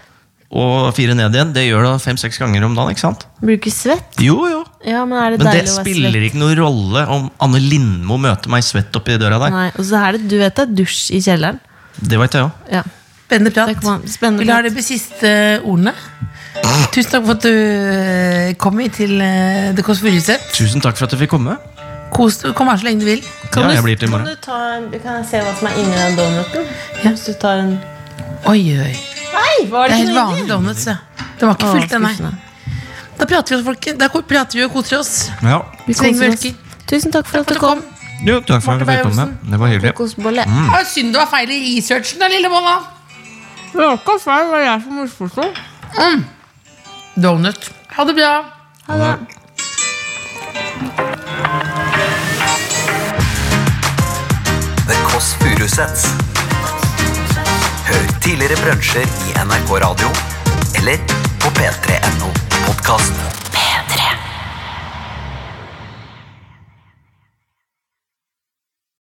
og fire ned igjen. Det gjør du fem-seks ganger om dagen. ikke sant? blir du ikke svett? Jo, jo. Ja, men er det Men det deilig å være svett? spiller ikke noen rolle om Anne Lindmo møter meg svett oppi døra der. Nei, og så er det, du vet det er dusj i kjelleren Det vet jeg jo. Ja, Spennende prat. Det kan- spennende Vil du ha prat. de siste ordene? Ah. Tusen takk for at du eh, kom hit til eh, The Kåss Furuseth. Tusen takk for at jeg fikk komme. Kos- Kom her så lenge du vil. kan, ja, du, jeg blir til kan, i morgen. du ta, kan jeg se hva som er inni den donuten? Hvis du tar en Oi, oi. Nei, var Det det ikke er helt noe vanlig donuts, ja. Den var ikke fullt, den, nei. skuffende. Da prater vi, folk, da ko- prater vi og koser oss. Ja. Vi Trenger koser melker. oss. Tusen takk for at du kom. Jo, takk for at jeg Marte fikk komme. Bergelsen. Det var hyggelig. Kokosbolle. Mm. Ah, synd det var feil i researchen, da, lille Mona. Det var ikke feil, det var jeg som misforsto. Donut. Ha det bra. Ha det. The Kåss Furuseths. Hør tidligere brunsjer i NRK Radio eller på p3.no podkast.